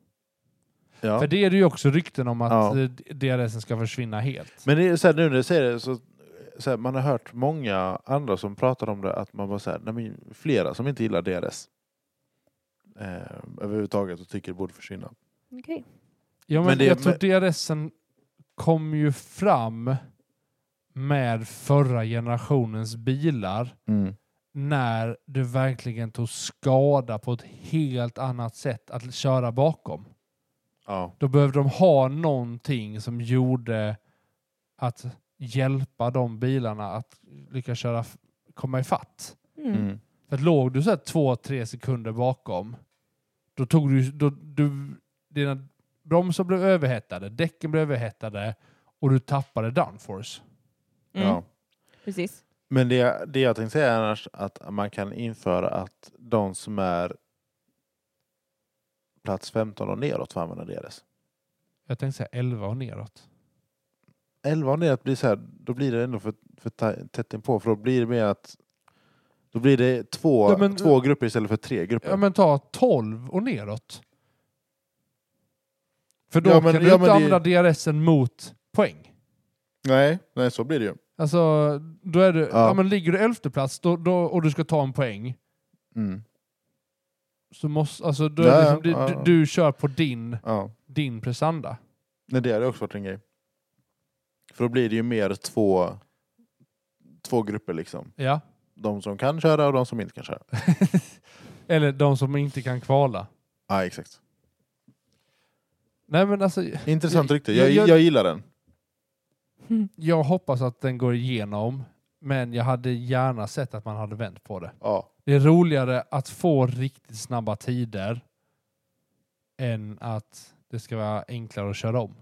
Ja. För det är det ju också rykten om att eh, Ja. ja. DRS ska försvinna helt. Men det är så här, nu när du säger det så, så här, man har hört många andra som pratar om det att man bara så här, nej, men flera som inte gillar DRS. Eh, överhuvudtaget och tycker det borde försvinna. Okej. Ja, men Men det- jag tror DRSen kom ju fram med förra generationens bilar när det verkligen tog skada på ett helt annat sätt att köra bakom. Ja. Då behövde de ha någonting som gjorde att hjälpa de bilarna att lyckas köra, f- komma i fatt. Mm. Mm. För att låg du så här två, tre sekunder bakom, då tog du, då, du dina bromsar blev överhettade, däcken blev överhettade och du tappade downforce. Mm. Ja. Precis. Men det, det jag tänkte säga är annars att man kan införa att de som är plats 15 och neråt får använda DRS. Jag tänkte säga 11 och neråt. 11 och neråt blir så här, då blir det ändå för, för ta- tätt inpå för då blir det mer att då blir det två, Ja, men- två grupper istället för tre grupper. Ja men ta 12 och neråt. För då Ja, men- kan du ja, inte men det- använda DRSen mot poäng. Nej, nej, så blir det ju. Alltså, då är du, Ja. ja. men ligger du elfte plats då, då, och du ska ta en poäng, Mm. så måste, alltså, då Ja, är det liksom, du, ja. du, du kör på din, Ja. din prestanda. Nej, det hade också varit en grej. För då blir det ju mer två, två grupper liksom. Ja. De som kan köra och de som inte kan köra. Eller de som inte kan kvala. Ja, exakt. Nej men alltså, Intressant Jag- rykte. Jag, jag- jag, gillar den. jag hoppas att den går igenom, men jag hade gärna sett att man hade vänt på det. Ja. Det är roligare att få riktigt snabba tider än att det ska vara enklare att köra om.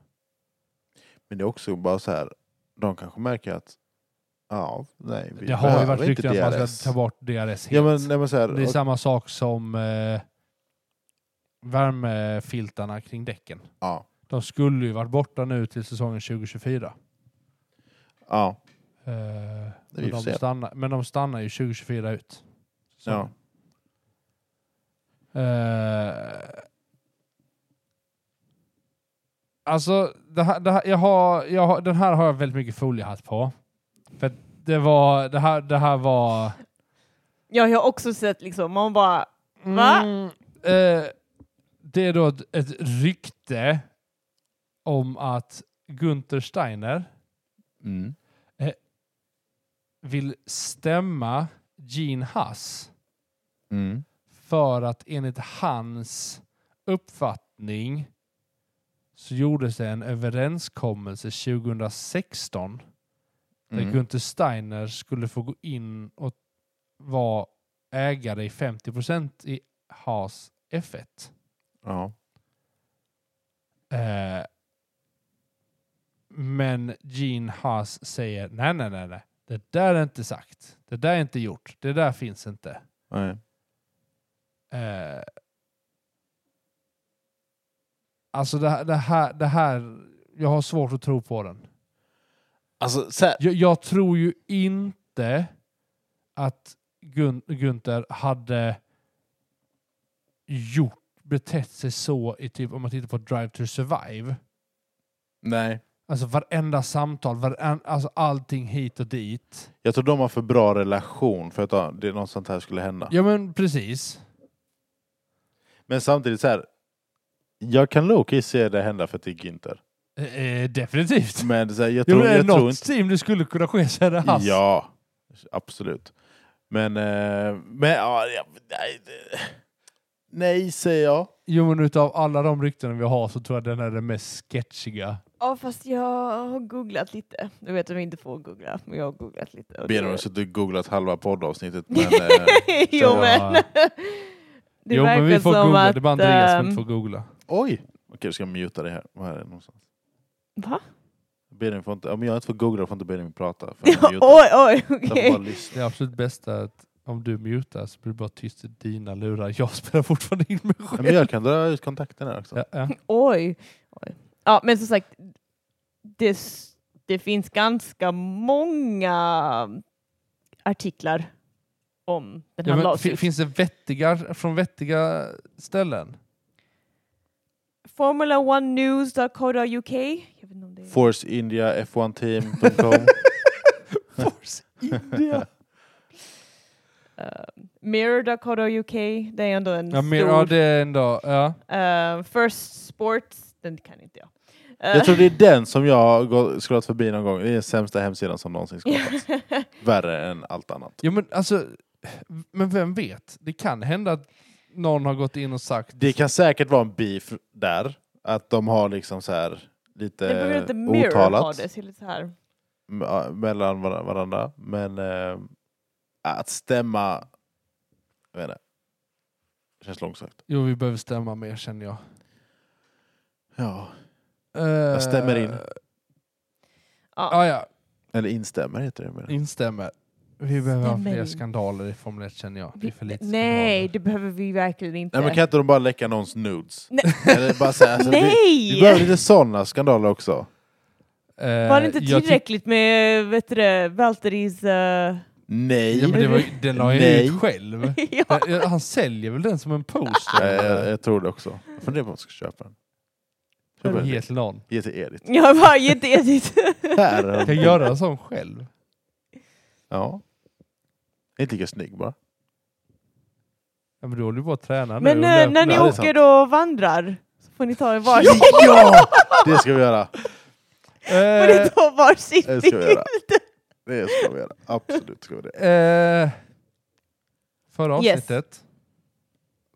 Men det är också bara så här. De kanske märker att ja, nej, vi det har ju behöver varit rykten inte att man DRS. ska ta bort DRS helt. Ja, men, nej, men så här, det är samma sak som eh, värmefiltarna kring däcken. ja, De skulle ju varit borta nu till säsongen 2024. ja, Eh, vi men, får de se. stannar, men de stannar ju 2024 ut. Så. ja. Eh, alltså, det här, det här, jag har, jag har, den här har jag väldigt mycket foliehatt på. För att det var, det här, det här var... Ja, jag har också sett liksom, man bara... Va? Mm, eh, det är då ett, ett rykte om att Gunther Steiner Mm. vill stämma Gene Haas Mm. för att enligt hans uppfattning så gjordes det en överenskommelse 2016 där Mm. Gunther Steiner skulle få gå in och vara ägare i 50 i Haas F1. Ja. Eh, men Gene Haas säger nej, nej, nej, nej. Det där är inte sagt. Det där är inte gjort. Det där finns inte. Nej. Eh, alltså det här, det, här, det här, jag har svårt att tro på den. Alltså, så här, Jag, jag tror ju inte att Gun, Gunther hade gjort, betett sig så i typ, om man tittar på Drive to Survive. nej. Alltså varenda samtal, varen, alltså allting hit och dit. Jag tror de har för bra relation för att ja, det är något sånt här skulle hända. Ja men precis. Men samtidigt så här. Jag kan low-key se det hända för att det är Günther. Eh, eh, definitivt. Men så här, jag Jo, tror, men är det jag tror något inte... team det skulle kunna ske så är det Haas. Ja, absolut. Men... eh, men ja, ja, nej, det- nej, säger jag. Jo men utav alla de rykten vi har så tror jag den är den mest sketchiga. Ja, fast jag har googlat lite. Du vet att vi inte får googla, men jag har googlat lite. Och Ber om det- att du googlat halva poddavsnittet. Men, eh, jo, Ja. men... Det jo men vi verkar får som googla, att, det är bara Andreas som ehm, inte får googla. oj! Okej, då ska jag muta det här. Var är det någonstans? Va? Benjamin får inte, om jag inte får googla får inte Benjamin prata. För jag mutar. oj, oj, Jag okej. får bara lyssna. Det absolut bästa är att om du mutar så blir det bara tyst i dina lurar. Jag spelar fortfarande in mig Ja, själv. Men jag kan dra ut kontakten här också. Ja, ja. Oj. Oj. Ja, men som sagt, det, s- det finns ganska många artiklar om den här Ja, men, fi- lawsuit. finns det vettiga från vettiga ställen? Formula One News UK. Jag vet inte om det är... ForceIndiaF1Team.com Force India. Eh, Mirror UK. Det är ändå en ja, men, stor... ja, det är ändå... Ja. Eh, First Sports, den kan inte jag. Eh, Jag tror det är den som jag har gå- scrollat förbi någon gång. Det är den sämsta hemsidan som någonsin skapats. Värre än allt annat. ja, men alltså... Men vem vet? Det kan hända att någon har gått in och sagt... Det kan säkert vara en beef där. Att de har liksom så här det beror lite inte Mirror har Eh, otalat det. så det är lite så här. m- ja, mellan var- varandra. Men eh, att stämma... Jag vet inte. Känns långsökt. Jo, vi behöver stämma mer känner jag. Ja. Jag stämmer in. Ja. Eh, Ah, Ja, ja. Eller instämmer heter det. menar jag. Instämmer. Vi behöver ha Stämmer fler in. skandaler i Formel 1 känner jag. Det är för lite Nej, skandaler. det behöver vi verkligen inte. Nej, men kan inte de bara läcka någons nudes? Nej. Eller bara säga, alltså, vi, Nej! vi behöver lite sådana skandaler också. Eh, Var det inte jag tyck- tillräckligt med vet du, det, Valtteris... eh, Nej! Ja, men det var, ju- den la jag Nej. ut själv. ja. Eh, Han säljer väl den som en poster? Nej, jag, jag tror det också. Jag funderar på om jag ska köpa den. Köpa Eller den. Ge till någon. Ge till Edith. Jag var jätteedigt. Här har Kan den. jag göra en sån själv? Ja. Inte lika snygg bara. Ja, men du håller ju på att träna Men nu. eh, när ni det är åker och vandrar så får ni ta en varsin. Ja! Det ska vi göra. Eh, Får ni åker... ta varsin Det ska vi göra. bild? Det ska vi göra. Absolut ska vi det. Eh, förra Yes. avsnittet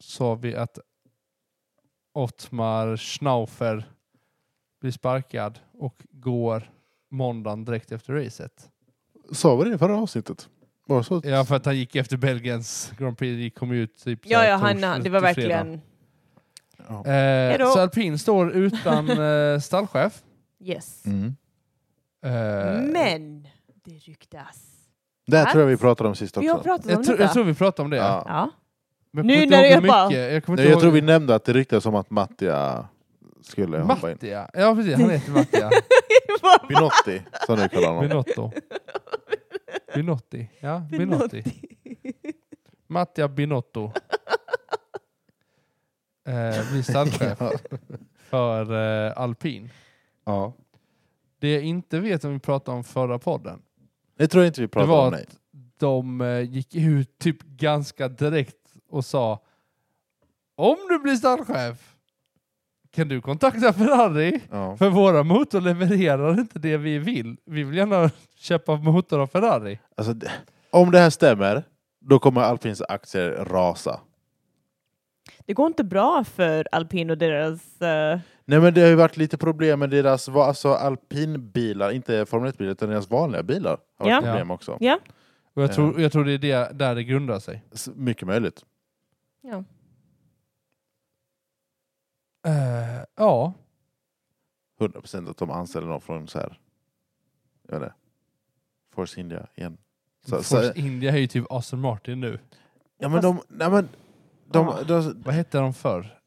sa vi att Ottmar Schnaufer blir sparkad och går måndagen direkt efter racet. Sa vi det i förra avsnittet? Bara så? Ja, för att han gick efter Belgiens Grand Prix. Det kom ut typ så Ja, här ja, han, tors- han, det var till fredag. verkligen... Ja. Hejdå. Eh, så alpin står utan eh, stallchef. Yes. Mm. Eh, Men det ryktas. Det här tror jag vi pratade om sist också. Vi har pratat jag, om tror- detta. jag tror vi pratade om det. ja. ja. Men Nu jag kommer inte när ihåg jag hur bara- mycket. Jag, kommer Nej, inte jag tror ihåg- vi nämnde att det ryktades om att Mattia skulle hoppa in. Mattia. Ja, precis. Han heter Mattia. Binotti, som nu kallar honom. Binotto. Binotti. Ja, Binotti. Mattia Binotto. Eh, blir stallchef Ja. för eh, alpin. Ja. Det jag inte vet om vi pratade om förra podden Det tror jag inte vi pratade Det var om. Nej. de eh, gick ut typ ganska direkt och sa om du blir stallchef kan du kontakta Ferrari? Ja. För våra motor levererar inte det vi vill. Vi vill gärna köpa motor av Ferrari. Alltså, det- om det här stämmer, då kommer Alpins aktier rasa. Det går inte bra för alpin och deras... eh, Nej men det har ju varit lite problem med deras va- alltså alpinbilar, inte Formel 1-bilar utan deras vanliga bilar. har varit Ja. problem också. ja. Och jag tror, jag tror det är det, där det grundar sig. S- Mycket möjligt. ja. Eh, ja, 100% att de anställer någon från så här, jag vet inte, Force India igen. Så, så, Force India är ju typ Aston Martin nu. ja men de, nej men, de, Ah. de, Vad hette de förr?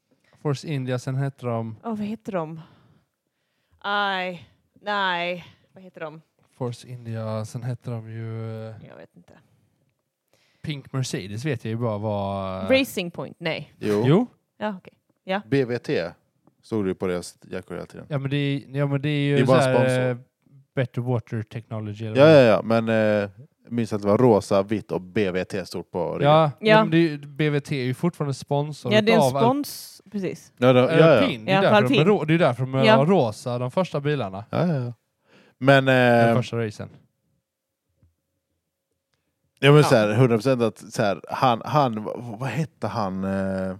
Force India, sen hette de Åh, vad heter de? Aj. Nej. Vad heter de? Force India, sen hette de ju eh, Jag vet inte. Pink Mercedes vet jag ju bara var... Racing Point? Nej. jo, Jo, Ja, okej. BVT stod det ju på deras jackor hela tiden. ja men det är, ja, men det är ju Det är så bara en här, eh, sponsor. Better Water Technology. eller Ja, vad ja, ja, men eh, jag minns att det var rosa, vitt och BVT stort på det- ryggen. ja, ja. Ja. men det är, ju- BVT är ju fortfarande sponsor Ja, det är en utav Alpin. spons. Precis. ja, då, ja, ja. Alpin. Det Ja, är för därför de är Alpin. rå- det är därför de är Ja. rosa, de första bilarna. Ja, ja, ja. Men... Den Eh, första racen. Ja men Ja. så här, 100% att så här, han, han, vad, vad hette han eh,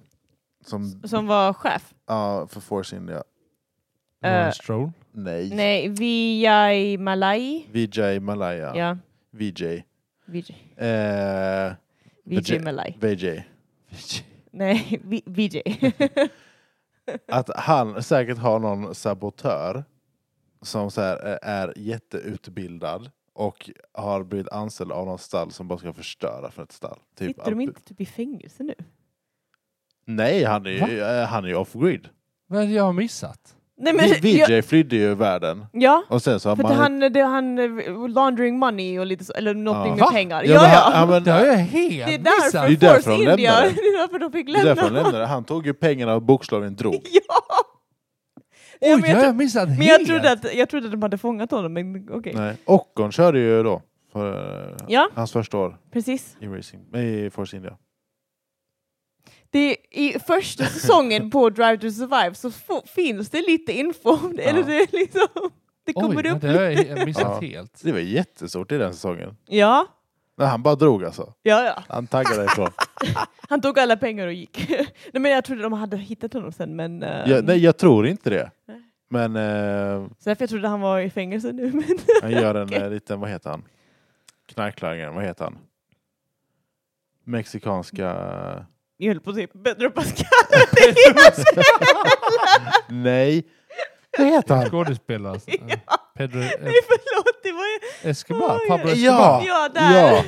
som, Som var chef. ja för Force India? Eh, Lawrence Stroll. Nej. Nej, Vijay Malai. Vijay Malaya. Ja. Vijay. Vijay, Eh, Vijay Vijay. Malai. Vijay. Nej, Vi- Vijay. Att han säkert har någon sabotör som så här, eh, är jätteutbildad och har blivit anställd av någon stall som bara ska förstöra för ett stall. Typ Sitter de Alp- inte typ i fängelse nu? Nej, han är ju eh, han är ju off-grid. Vad är det jag har missat? Nej, Vi- men, jag, Vijay flydde ju världen. ja, Och sen så har för man... att han, det, han eh, laundering money och lite så, eller någonting med Va? pengar. Ja, Ja, men ja. han- han- men- Det har jag helt det är missat. därför Det är därför Force de India, lämnade. det är därför de fick Det är därför han lämna. lämnade. Han tog ju pengarna och bokstavligen drog. ja. Oj, Ja, det men jag har tro- jag missat Men jag helt. trodde, att, jag trodde att de hade fångat honom, men okej. Nej. Ockon körde ju då. För, eh, Ja, Hans första år precis. i, racing, i Force India. Det är, I första säsongen på Drive to Survive så få, finns det lite info. om det, Ja. Eller det, är liksom, det kommer Oj, upp det har lite. jag missat Ja. helt. Det var jättestort i den säsongen. Ja, Nej, han bara drog alltså. ja, ja. Han taggade ifrån. Han tog alla pengar och gick. nej, men jag trodde de hade hittat honom sen, men... eh, Jag, nej, jag tror inte det. Nej. Men eh, Så därför jag trodde han var i fängelse nu. Men han gör en Okej. eh, liten, vad heter han? Knarklangaren, vad heter han? Mexikanska... jag höll på att säga Pedro Pascal. Det är hans fel! Nej! Vad heter han? Skådespelare. alltså. Pedro eh, Nej, förlåt. Det var ju... Escobar. Oj. Pablo Ja. Escobar. Ja, där. Ja.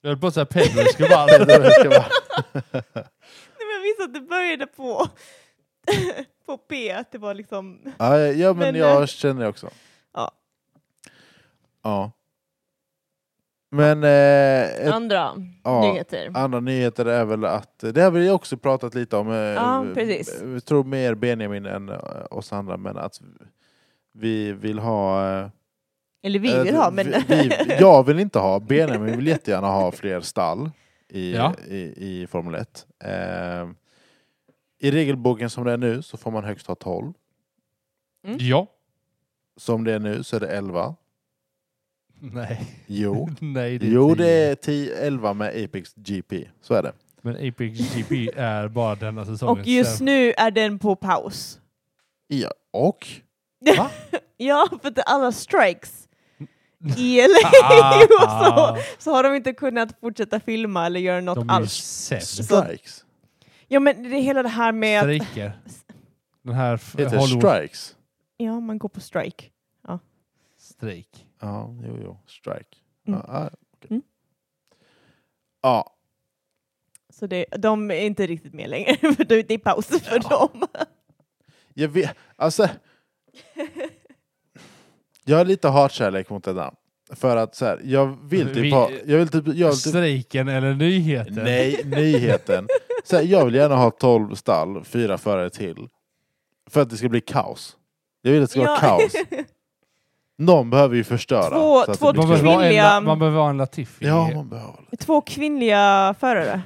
Jag höll på att säga Pedro Escobar. Pedro Escobar. Nej, men jag visste att det började på, på P, att det var liksom... Ja, ja men, Men, eh, jag känner det också. ja. Ja. Men eh, ett, Andra ja, nyheter. andra nyheter är väl att, eh, det har vi också pratat lite om, eh, Ja, precis. jag tror mer Benjamin än eh, oss andra, men att vi vill ha... eh, Eller vi eh, vill ha, men... vi, vi, jag vill inte ha, Benjamin vill jättegärna ha fler stall i, Ja. i, i Formel 1. Eh, I regelboken som det är nu så får man högst ha 12. Ja. Som det är nu så är det 11. Nej. Jo. Nej, det är Jo, inte- det är 10, 11 med Apex GP. Så är det. Men Apex GP är bara denna säsongen. och just nu är den på paus. Ja, och? Va? Ja, för att alla strikes i LA Ah, och ah. så, så har de inte kunnat fortsätta filma eller göra något De är ju alls. sämst. Strikes? Ja, men det är hela det här med att Strejker. Den här f- Heter det Hollywood... strikes? ja, man går på strike. Strejk. Ja, jo, jo. Strike. Mm. Ja, ah, okej. Mm. Ja, Så det, de är inte riktigt med längre, för det det är paus för dem. jag vet. Alltså, jag har lite hatkärlek mot det där. För att så här, jag vill Alltså, Vi- typ ha... Jag vill typ, jag vill typ, Strejken eller nyheten. nej, nyheten. Så här, jag vill gärna ha 12 stall, fyra förare till. För att det ska bli kaos. Jag vill att det ska vara kaos. Någon behöver ju förstöra. Två- så att det två blir Man kul. behöver, vara en, Kvinnliga- La- man behöver vara en Latifi. Ja, man behöver. Två kvinnliga förare.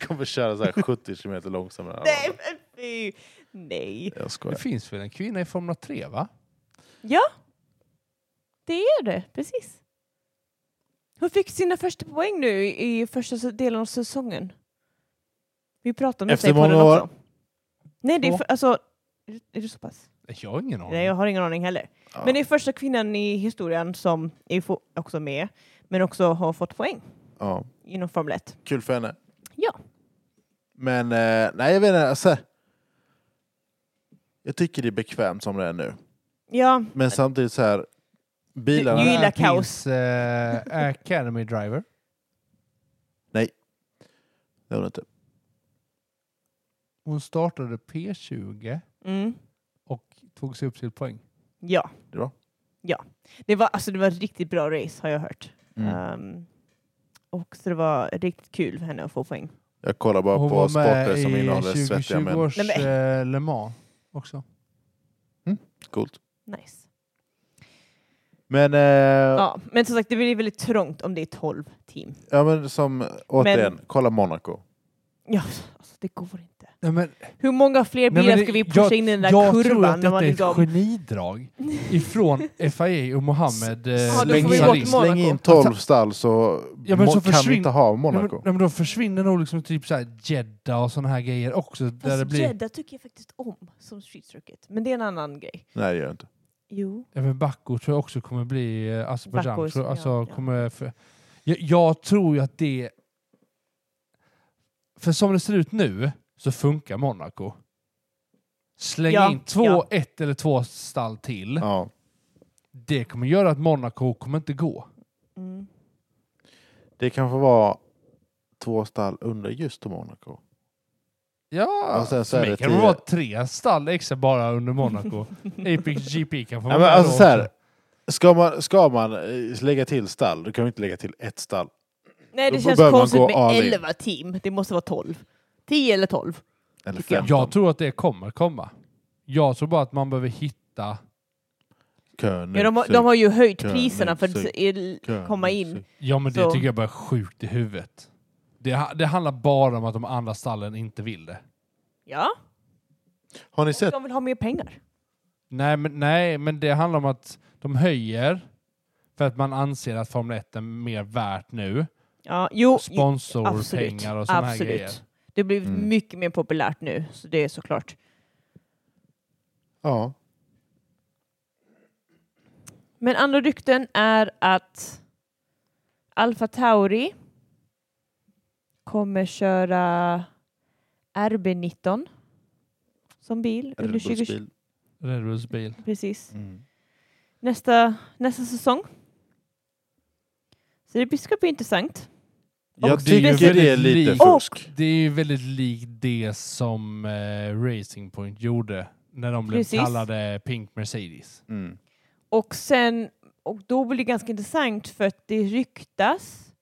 Kommer köra så här 70 kilometer långsammare. Nej, men fy! Nej. Jag Det skojar. finns väl en kvinna i Formula 3, va? Ja, det är det. Precis. Hon fick sina första poäng nu i i första s- delen av säsongen. Vi pratade om det Efter i podden många år? också. Nej, det är, Två. för, alltså, är det- är det så pass? Jag har ingen aning. Nej, jag har ingen aning heller. Ja. Men det är första kvinnan i historien som är fo- också med, men också har fått poäng Ja. inom Formel 1. Kul för henne. Ja. Men eh, nej, jag vet inte. Alltså, jag tycker det är bekvämt som det är nu. Ja, Men samtidigt så här, bilarna... Jag gillar Där finns, kaos. eh, Academy Driver. Det var det inte. Hon startade P20 mm, och tog sig upp till poäng. ja. Det var. Ja. Det var, alltså, det var ett riktigt bra race har jag hört. Mm. Ehm, och så det var riktigt kul för henne att få poäng. Jag kollar bara Hon på var sporter med som i innehåller svettiga 2020 män. års Nej, eh, Le Mans också. Coolt. Nice. Men, eh, ja. Ja, men som sagt, det blir väldigt trångt om det är 12 team. men som återigen, kolla Monaco. Ja, alltså, det går inte. Nej, men, Hur många fler nej, bilar men det- ska vi pusha in i den där jag tror kurvan? att när detta man är liksom- ett genidrag ifrån FIA och Mohammed eh, Ja, då får vi in- bort Sarri. Monaco. släng in 12 stall så, Ja, men mo- så kan vi försvinn- inte ha Ja, men, Monaco. ja, men då försvinner nog liksom typ så här Jeddah och sådana här grejer också. Där Fast det blir, Jeddah tycker jag faktiskt om som street circuit, men det är en annan grej. Nej, det gör jag inte. Jo. även Baku tror jag också kommer bli eh, Azerbaijan. Baku, tror jag, alltså, ja, ja. Kommer för, jag, jag tror ju att det... För som det ser ut nu så funkar Monaco. Släng Ja, in två, ja. ett eller två stall till. Ja. Det kommer göra att Monaco kommer inte gå. Mm. Det kan få vara två stall under just Monaco. Ja, Och sen så så är mig det kan det tio- vara tre stall extra bara under Monaco. Apex GP kan få Ja, vara men med alltså då så här, också. ska, man, ska man eh, lägga till stall, då kan vi inte lägga till ett stall. Nej, Då det känns bör man konstigt gå med all in. 11 team. Det måste vara 12. 10 eller 12. Eller Tycker jag. 15. Jag tror att det kommer komma. Jag tror bara att man behöver hitta... König, Ja, de, har- de har ju höjt Kör, priserna för att nötsug, el- König, komma in. Ja, men Så. det tycker jag bara är sjukt i huvudet. Det, ha- det handlar bara om att de andra stallen inte vill det. Ja, Har ni sett? de vill ha mer pengar. Nej, men, nej, men det handlar om att de höjer för att man anser att Formel 1 är mer värt nu. Ja, jo, jo, absolut. Sponsorpengar och sådana här grejer. absolut. Det har blivit Mm. mycket mer populärt nu, så det är såklart. Ja. Men andra rykten är att Alfa Tauri kommer köra RB19 som bil under 2020. Rebusbil. Red Bulls bil. Precis. Mm. Nästa, nästa säsong. Så det ska bli intressant. Jag Och tycker speciellt- det är lite Och- fusk. Det är ju väldigt likt det som eh, Racing Point gjorde när de blev Precis. kallade Pink Mercedes. Mm. Och sen, och då blir det ganska intressant för att det ryktas,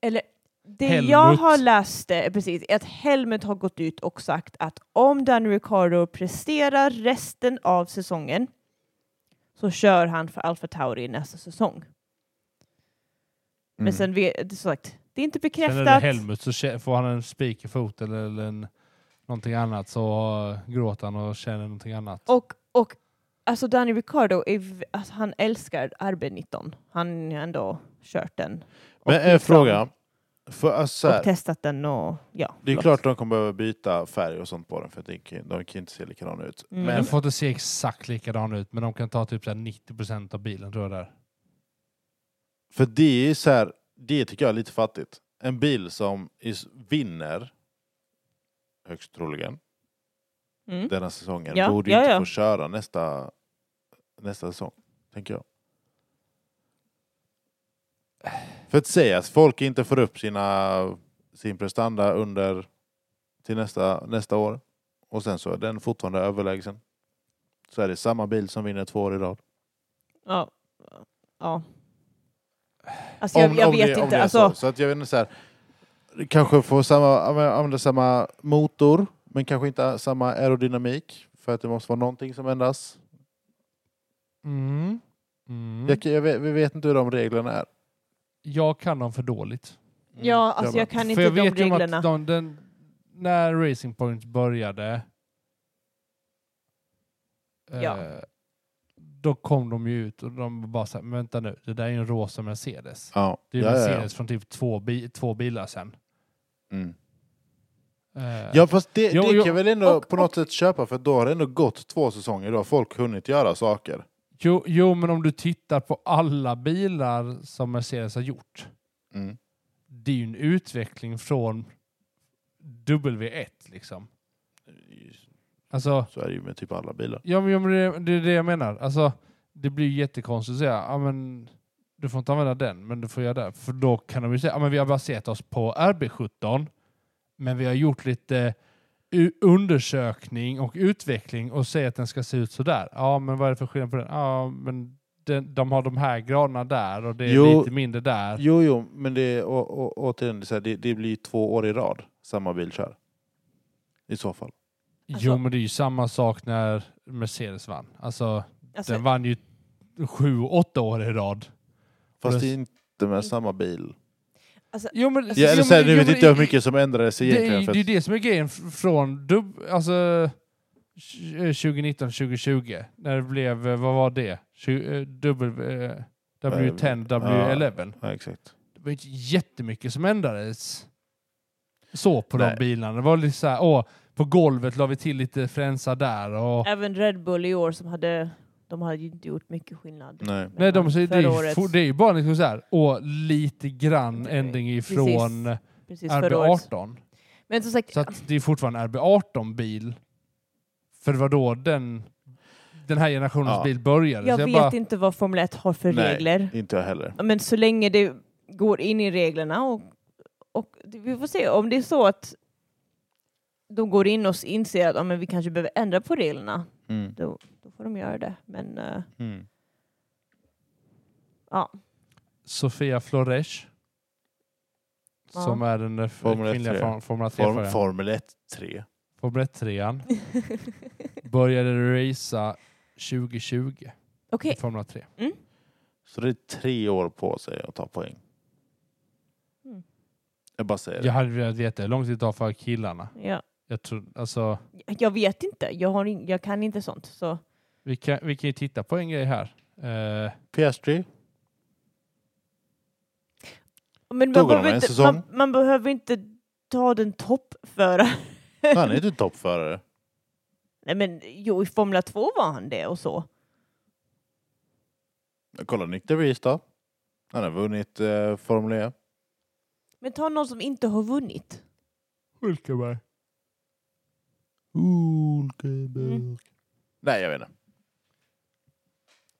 eller det Helmut. jag har läst det, är precis, är att Helmut har gått ut och sagt att om Daniel Ricciardo presterar resten av säsongen så kör han för Alfa Tauri nästa säsong. Men Mm. sen, vet- det är sagt, det är inte Sen är det bekräftat. Helmut så kä- får han en spik i foten eller en, någonting annat så eh, gråter han och känner någonting annat. Och, och alltså Daniel Ricciardo, är, v- alltså, han älskar RB19. Han har ändå kört den och Men en liksom- fråga. För, alltså, så här, och testat den och ja. det är förlåt. klart de kommer behöva byta färg och sånt på den för att de kan, de kan inte se likadana ut. Mm. Men Den får inte se exakt likadan ut men de kan ta typ så här 90% av bilen tror jag där. För det är så här, det tycker jag är lite fattigt. En bil som is, vinner, högst troligen, Mm. denna säsongen Ja, borde ja, inte ja. få köra nästa, nästa säsong, tänker jag. För att säga att folk inte får upp sina, sin prestanda under till nästa, nästa år och sen så är den fortfarande överlägsen. Så är det samma bil som vinner två år i rad. Ja. ja. Alltså jag, jag vet det, inte. det är alltså, så. så att jag vet inte så här, kanske få samma, använda- använda samma motor men kanske inte samma aerodynamik för att det måste vara någonting som ändras. Mm. Mm. Jag, jag vet, vi vet inte hur de reglerna är. Jag kan dem för dåligt. ja, alltså jag kan inte de ju om att reglerna. de, den, när Racing Point började, Ja. eh, då kom de ju ut och de bara såhär, "Men vänta nu, det där är ju en rosa Mercedes. Ja, Det är ju ja, ja, ja. Mercedes från typ två, bi, två bilar sen. Mm. Eh, ja fast det, Jo, det jo. kan jag väl ändå Och- på något sätt köpa för då har det ändå gått två säsonger. Då har folk hunnit göra saker. jo, jo, men om du tittar på alla bilar som Mercedes har gjort, Mm. det är ju en utveckling från W1 liksom. Alltså, Så är det ju med typ alla bilar. Ja, men, ja, men det, det är det jag menar. Alltså, det blir ju jättekonstigt att säga ja, men, du får inte använda den, men du får göra det. För då kan de ju säga ja, men vi har baserat oss på RB17, men vi har gjort lite u- undersökning och utveckling och säger att den ska se ut sådär. Ja, men vad är det för skillnad på den? Ja, men den, de har de här graderna där och det är Jo. Alltså- lite mindre där. Jo, jo, men det, är- å, å, återigen, det, är så här, det, det blir ju två år i rad samma bil kör. I så fall. Alltså- Jo, men det är ju samma sak när Mercedes vann. Alltså, Alltså, den vann ju sju, åtta år i rad. Fast Plus- det är inte med samma bil. Jo, men, Ja, eller Alltså, jo, så här, men- nu jo, vet men- inte jag hur mycket som ändrades Det är, egentligen. ju- För det är att, det som är grejen f- från dub, alltså, tj- eh, 2019, 2020. När det blev, eh, vad var det? Tju- eh, dubbel, eh, W10, W11. Äh, ja, exakt. Det var ju inte jättemycket som ändrades. Så på Nej. de bilarna. Det var lite så här, åh, på golvet la vi till lite fränsa där. Och, även Red Bull i år som hade, de hade ju inte gjort mycket skillnad. Nej. nej, de, säger- det, förra är ju, året, for- det är ju bara liksom så här, åh, lite grann ändring ifrån precis förra året. RB18. Men som sagt, Så att det är fortfarande en RB18-bil. För det var då den, den här generationens Ja. bil började. jag Så vet bara, inte vad Formel 1 har för Nej. regler. Inte jag heller. Men så länge det går in i reglerna och, och vi får se om det är så att de går in och inser att ja, men vi kanske behöver ändra på reglerna, Mm. då, då får de göra det. Men eh, Mm. ja, Sofia Flores. Ja. Som är den där Formel ett kvinnliga tre. form, Formel 3 Form, föraren Formel 1 3. Formel 1 trean började racea 2020 okej. i Formel 3. Så det är tre år på sig att ta poäng. Mm. Jag bara säger Jag det. hade velat veta hur lång tid det tar för killarna. Ja. Jag tror, alltså, Jag vet inte. Jag, har in, jag kan inte sånt. Så. vi, kan, vi kan ju titta på en grej här. Eh, Piastri, Men Tog man honom behöver, en inte, säsong. man, man behöver inte ta den toppförare. han är inte toppförare. Nej men jo, i Formula 2 var han det och så. Kolla Nick DeVries då. Han har vunnit eh, Formel E. Men ta någon som inte har vunnit. Hulkenberg. Hulkenberg. Mm. Nej, jag vet inte.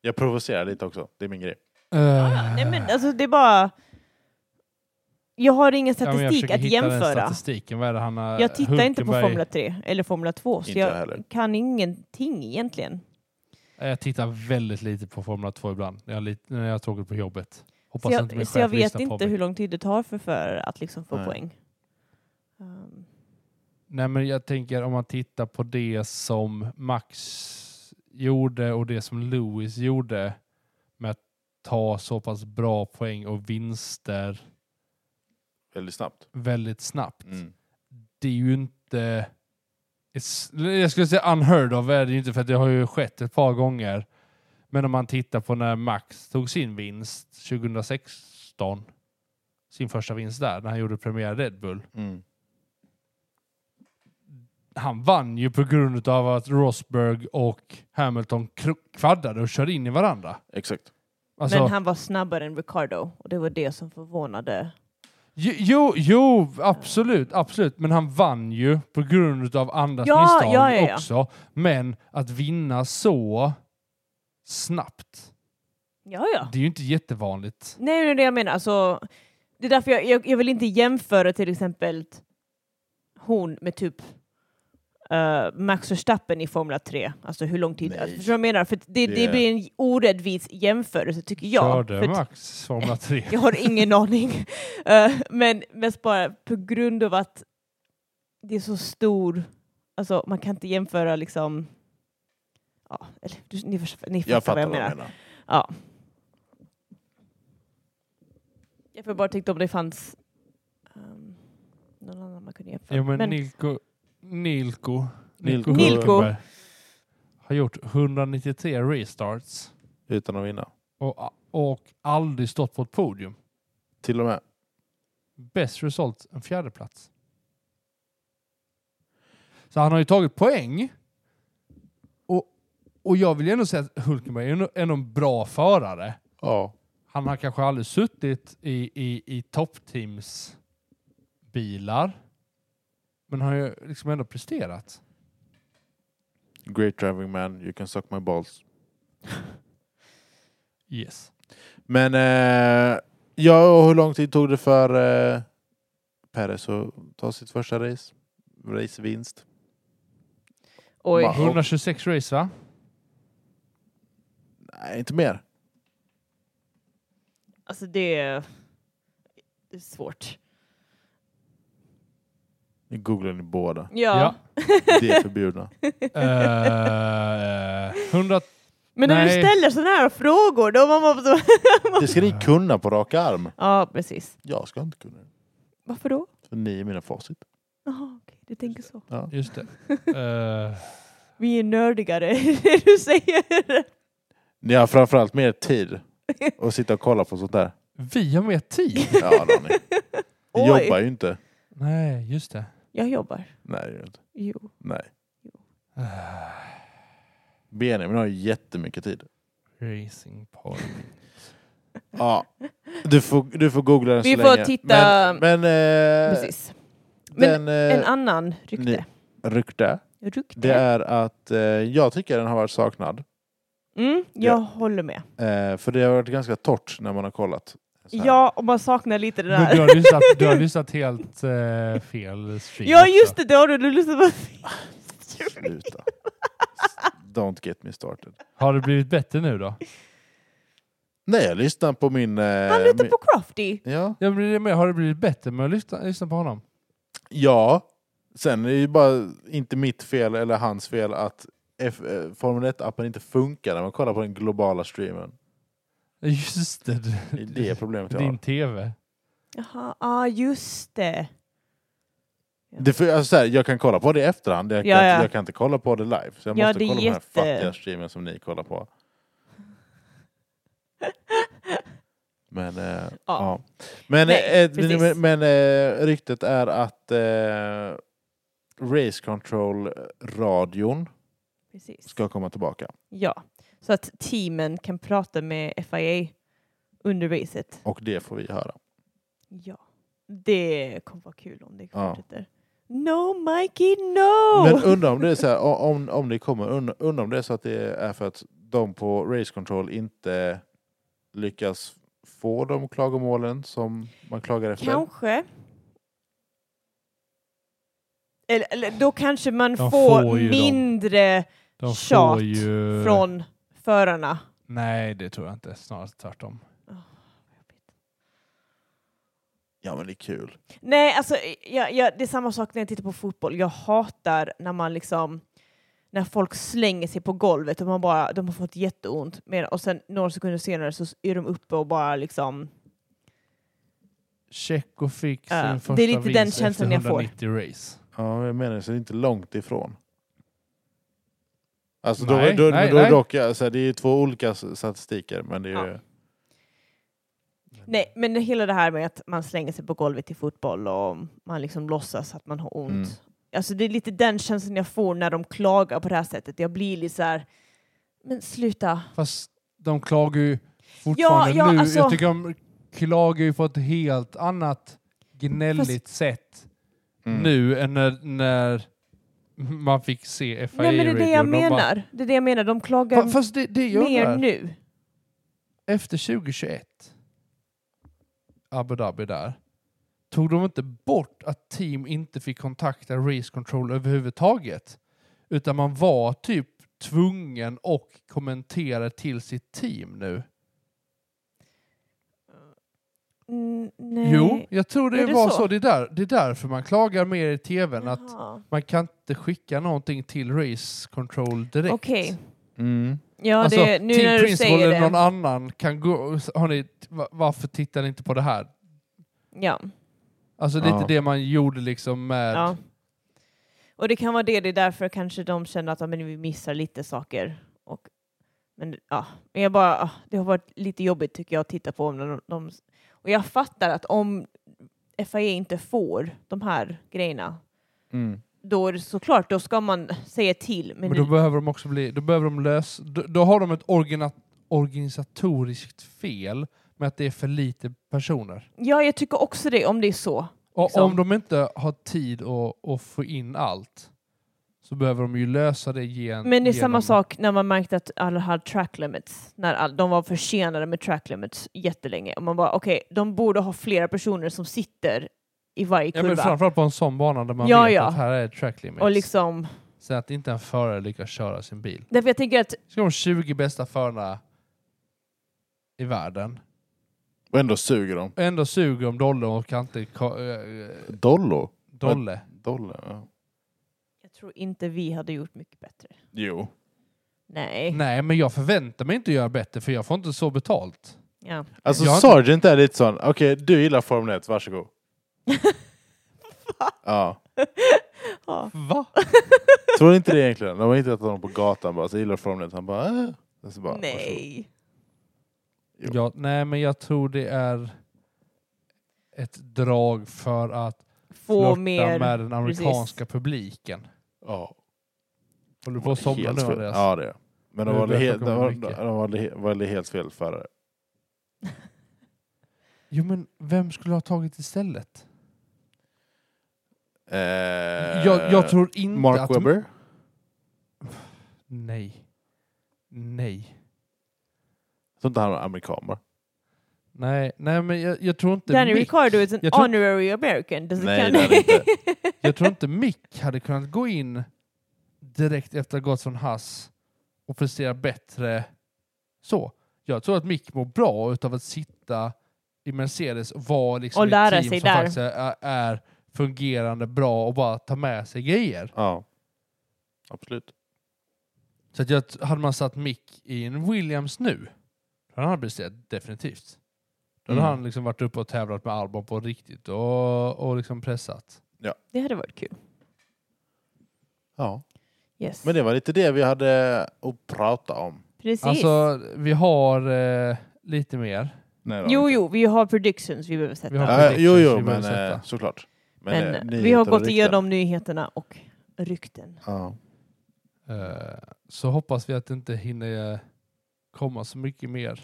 Jag provocerar lite också. Det är min grej. Ja, nej men alltså det är bara... Jag har ingen Ja, men jag statistik försöker att hitta den jämföra. Statistiken. Vad är det han har, Jag tittar inte på Hulkenberg- Formula 3 eller Formula 2 så Inte jag jag heller. kan ingenting egentligen. Eh, Jag tittar väldigt lite på Formel 2 ibland. När jag, lit- när jag tågar på jobbet. Så Hoppas inte min jag, så jag chef vet lyssnar på inte mig. hur lång tid det tar för förare att liksom få Nej. poäng. Um, Nej, men jag tänker om man tittar på det som Max gjorde och det som Lewis gjorde med att ta så pass bra poäng och vinster Väldigt snabbt. väldigt snabbt. Mm. Det är ju inte... it's- Jag skulle säga unheard of är det ju inte för att det har ju skett ett par gånger. Men om man tittar på när Max tog sin vinst 2016, sin första vinst där, när han gjorde premiär i Red Bull. Mm. han vann ju på grund av att Rosberg och Hamilton kro- kvaddade och körde in i varandra. Exakt. Alltså, Men han var snabbare än Ricardo och det var det som förvånade. jo, jo, jo, absolut, absolut. Men han vann ju på grund av andras Ja, misstag ja, ja, ja. också. Men att vinna så snabbt, Ja, ja. det är ju inte jättevanligt. Nej, det är det jag menar. Alltså, det är därför jag, jag, jag vill inte jämföra till exempel hon med typ eh, Max Verstappen i Formula 3. Alltså hur lång tid... Nej. Alltså, förstår du vad jag menar? För att det, det... Det- blir en orättvis jämförelse tycker jag. Körde För att- Max Formel 3? Jag har ingen aning. Eh, men mest bara på grund av att det är så stor... Alltså man kan inte jämföra liksom... Ja, eller, du, ni, förs- ni fattar Jag vad fattar jag vad menar. du menar. Ja. Jag får bara tyckte om det fanns ehm, någon annan man kunde jämföra. Ja, men, Men- Nilko, Nilko, Nilko. Nilko. Hulkenberg har gjort 193 restarts Utan att vinna. och, och aldrig stått på ett podium. Till och med. Bäst result, en fjärde plats. Så han har ju tagit poäng. Och, och jag vill ju ändå säga att Hulkenberg är ändå, ändå en bra förare. Ja. Han har kanske aldrig suttit i, i, i toppteams bilar. Men han har ju liksom ändå presterat. Great driving man. You can suck my balls. Yes. Men eh, ja, och hur lång tid tog det för eh, Perez att ta sitt första race? Racevinst. Oj. Ma- 126 race va? Nej, inte mer. Alltså det är, det är svårt. Nu googlar ni båda. Ja. Ja. Det är förbjudna. Eh, 100... Men när du Nej. ställer sådana här frågor då var man så... Det ska ni kunna på rak arm. ja, precis. Jag ska inte kunna det. Varför då? För ni är mina facit. Jaha, okej, du tänker så. Ja. Just det. Eh, Vi är nördigare i det du säger. Ni har framförallt mer tid att sitta och kolla på sånt där. vi har mer tid. Ja, det har ni. Ni Oj. jobbar ju inte. Nej, just det. Jag jobbar. Nej, det gör ni inte. Jo. Nej. Eh. Benjamin har ju jättemycket tid. Racing Point. Ja, du får, du får googla den Vi så får länge. titta- Men, men eh, Precis. Men den eh, En annan rykte. rykte, Rykte? det är att eh, jag tycker den har varit saknad. Mm, Ja. jag håller med. Eh, för det har varit ganska torrt när man har kollat. Så här. Ja, och man saknar lite det Men där. du har lyssnat, du har lyssnat helt eh, fel stream Ja, också. just det! Då har du, du lyssnat på... Sluta. Don't get me started. Har det blivit bättre nu då? Nej, jag lyssnar på min... eh, Han lyssnar min- på Crafty. Ja. Ja, men det- men har det blivit bättre med att lyssna, lyssna på honom? ja. Sen är det ju bara inte mitt fel eller hans fel att F- eh, Formel 1-appen inte funkar när man kollar på den globala streamen. Just det. Det är det problemet jag har. Din TV. Jaha, ah, just det. Det för, alltså, så här, jag kan kolla på det i efterhand, jag, Ja, kan, ja. Inte, jag kan inte kolla på det live. Så jag Ja, måste det är kolla på jätte- den här fattiga streamen som ni kollar på. Men, eh, ja. men, Nej, eh, precis. men, men eh, ryktet är att eh, Race Control-radion Precis. ska komma tillbaka. Ja, så att teamen kan prata med FIA under racet. Och det får vi höra. Ja, det kommer vara kul om det Ja. fortsätter. No, Mikey, no! Men undrar om det är så här, o- om, om det kommer, und- undrar om det är så att det är för att de på Race Control inte lyckas få de klagomålen som man klagar efter. Kanske. Eller, eller då kanske man De får, får ju dem. Eh. mindre De Tjat får ju... från förarna. Nej, det tror jag inte. Snarare tvärtom. Ja men det är kul. Nej, alltså jag, jag, det är samma sak när jag tittar på fotboll. Jag hatar när man liksom när folk slänger sig på golvet och man bara, de har fått jätteont. Men, och sen några sekunder senare så är de uppe och bara liksom... Tjecko fick Ja, sin det är första lite den vinst känslan efter jag får. 190 race. Ja, jag menar så det är inte långt ifrån. Alltså Nej, då, då, nej, då, nej. dock, alltså, det är ju två olika s- statistiker men det är ju... Nej, men hela det här med att man slänger sig på golvet i fotboll och man liksom låtsas att man har ont. Mm. Alltså det är lite den känslan jag får när de klagar på det här sättet. Jag blir lite så här, men sluta. Fast de klagar ju fortfarande ja, nu. alltså- Jag tycker de klagar ju på ett helt annat gnälligt sätt Mm. nu än när, när man fick se FIA Nej, men det är det jag Radio. De bara- menar. Det är det jag menar. De klagar Fa- Fast det, det jag mer undrar, nu. efter 2021, Abu Dhabi där, tog de inte bort att team inte fick kontakta race control överhuvudtaget? Utan man var typ tvungen och kommentera till sitt team nu. Mm, nej. Jo, jag tror det, Är det var så? så. Det, är där, det är därför man klagar mer i tvn att Jaha. man kan inte skicka någonting till race control direkt. Okej. Mm. Ja, alltså, det, nu Team när du Principal säger eller det. någon annan kan gå... Har ni, va- varför tittar ni inte på det här? Ja, Alltså lite Ja. det man gjorde liksom med... ja. Och det kan vara det, det är därför kanske de känner att ja, men vi missar lite saker. Och, men ja, men jag bara, ah, det har varit lite jobbigt tycker jag att titta på. Om de, de, och jag fattar att om FIA inte får de här grejerna, Mm. då är det såklart, då ska man säga till. Men, Men då behöver de också bli... Då behöver de lösa... Då, då har de ett organa, organisatoriskt fel med att det är för lite personer. ja, jag tycker också det, om det är så. Och Liksom. om de inte har tid att, att få in allt så behöver de ju lösa det gen, Men det är genom- samma sak när man märkte att alla hade track limits, när all, de var försenade med track limits jättelänge. Och man bara, okej, de borde ha flera personer som sitter i varje Ja, men kurva. framförallt på en sån bana där man Ja, vet ja. att här är track limits. och liksom, Så att inte en förare lyckas köra sin bil. därför jag tänker att, Ska de 20 bästa förarna i världen Och ändå suger de. och ändå suger om Dolle och kan inte... ka- eh, Dollo? Dolle. Dollar, ja. jag tror inte vi hade gjort mycket bättre. Jo. Nej. Nej, men jag förväntar mig inte att göra bättre för jag får inte så betalt. Ja. Alltså Jag har inte- Sargent är lite sån, okej du gillar Formel 1, varsågod. ja. ja. Va? Tror inte det egentligen. De har hittat honom på gatan bara, så jag gillar Formel 1. Han bara, äh. Och så bara varsågod. Nej. Jo. Ja, nej, men jag tror det är ett drag för att Få flirta mer. med den amerikanska precis. publiken. Ja. Håller du på att somna nu Helt fel. Andreas? Ja det är Men de Nu valde, börjar helt, de, klockan bli valde, mycket. de, valde, he- valde helt fel förare. Jo, men vem skulle ha tagit istället? Eh, jag, jag tror inte Mark att... Webber? Nej. Nej. Jag tror inte han var amerikan bara. Nej, nej men jag, jag tror inte Danny Mick, Ricardo is an jag tror- honorary American. Does it Nej, count? det är det jag tror inte Mick hade kunnat gå in direkt efter att ha gått från Hass och prestera bättre så. Jag tror att Mick mår bra utav att sitta i Mercedes och vara liksom Och ett lära team sig som där. faktiskt är, är fungerande bra och bara ta med sig grejer. Ja. Absolut. Så att jag, hade man satt Mick i en Williams nu, då hade han presterat definitivt. Då hade Mm. han liksom varit uppe och tävlat med Albon på riktigt och, och liksom pressat. Det hade varit kul. Ja. Yes. Men det var lite det vi hade att prata om. Precis. Alltså, vi har eh, lite mer. Nej, då. jo, jo, vi har predictions vi behöver sätta. Vi har Ja, jo, predictions jo, vi men behöver sätta. eh, såklart. Men eh, vi nyheter har och gått rykten. igenom nyheterna och rykten. Ja. Eh, så hoppas vi att det inte hinner eh, komma så mycket mer.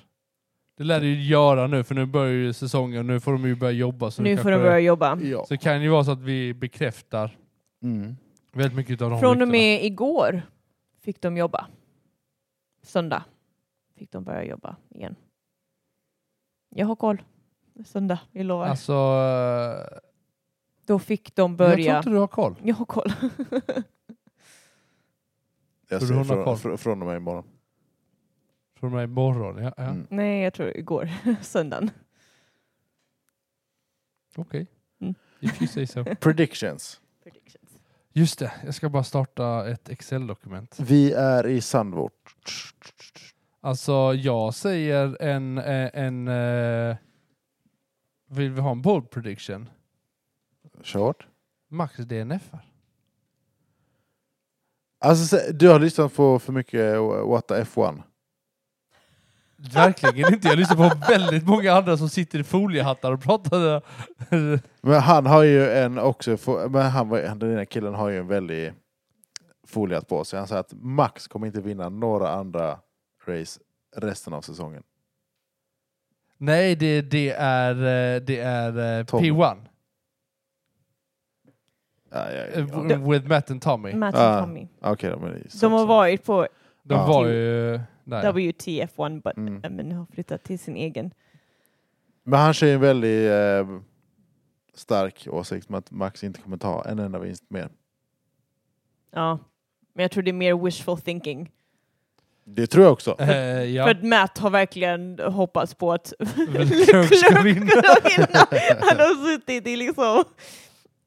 Det lär det ju göra nu, för nu börjar ju säsongen och nu får de ju börja jobba. Så, nu det får de kanske- börja jobba. ja. så det kan ju vara så att vi bekräftar Mm. väldigt mycket av de Från och ryktena. med igår fick de jobba. Söndag fick de börja jobba igen. Jag har koll. Söndag, vi lovar. Alltså, eh, Då fick de jag tror börja. inte du har koll. Jag har koll. Jag Så du ser håller koll? från, fr- från och med imorgon. Från och med imorgon, ja. ja. Mm. Nej, jag tror igår. Söndagen. Okej. Mm. If you say so. Predictions. Predictions. Just det, jag ska bara starta ett Excel-dokument. Vi är i Sandvort. Alltså, jag säger en... eh, en eh, vill vi ha en bold prediction? Kört. Max DNF. -ar. Alltså, se- du har lyssnat på för mycket eh, What the F1. Verkligen inte. Jag lyssnar på väldigt många andra som sitter i foliehattar och pratar. Men han har ju en också, fo- men han, var- han, den där killen har ju en väldig foliat på sig. Han säger att Max kommer inte vinna några andra race resten av säsongen. Nej, det, det är, eh, det är eh, Tom. P1. Ja, ja, eh, ja. w- With Matt and Tommy. Matt Ah, och Tommy. Okej då, men det är så- De har varit på De Ja. var ju... Där. WTF1 but, Mm. men har flyttat till sin egen. Men han kör ju en väldigt eh, stark åsikt om att Max inte kommer ta en enda vinst mer. Ja. Men jag tror det är mer wishful thinking. Det tror jag också. Eh, ja. För att Matt har verkligen hoppats på att Klunk ska Klunk vinna. ska vinna. Han har suttit i liksom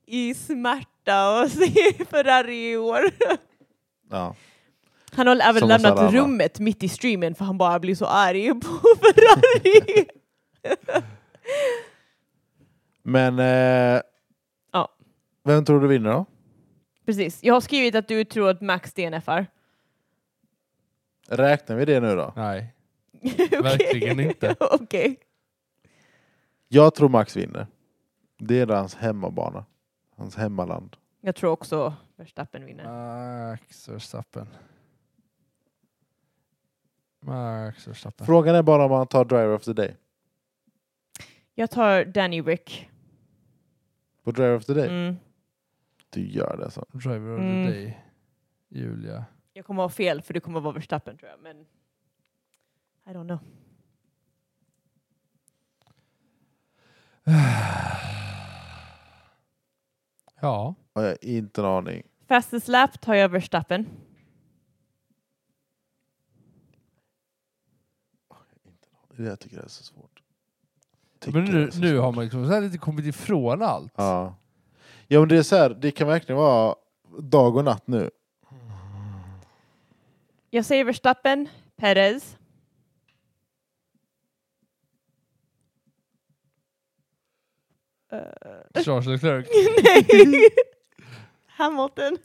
i smärta och se Ferrari i år. Ja. Han har även Som lämnat oss alla andra. rummet mitt i streamen för han bara blir så arg på Ferrari. Men... Eh, Ja. Vem tror du vinner då? Precis. Jag har skrivit att du tror att Max DNFar. Räknar vi det nu då? Nej. Okej. Verkligen inte. Okej. Jag tror Max vinner. Det är hans hemmabana. Hans hemmaland. Jag tror också Verstappen vinner. Max Verstappen. Max Verstappen. Frågan är bara om han tar Driver of the Day. Jag tar Danny Rick. På Driver of the Day? Mm. Du gör det alltså. så. Driver of Mm. the day. Julia. Jag kommer ha fel för det kommer vara Verstappen tror jag, men I don't know. Ja. Har jag inte en aning. Fastest lap tar jag Verstappen. Det Jag tycker det är så svårt. Tycker Men det nu, är så nu svårt. har man liksom så här lite kommit ifrån allt. Ja. ja men det är så här, det kan verkligen vara dag och natt nu. Jag säger Verstappen, Perez. Eh, Charles Leclerc. nej! Hamilton.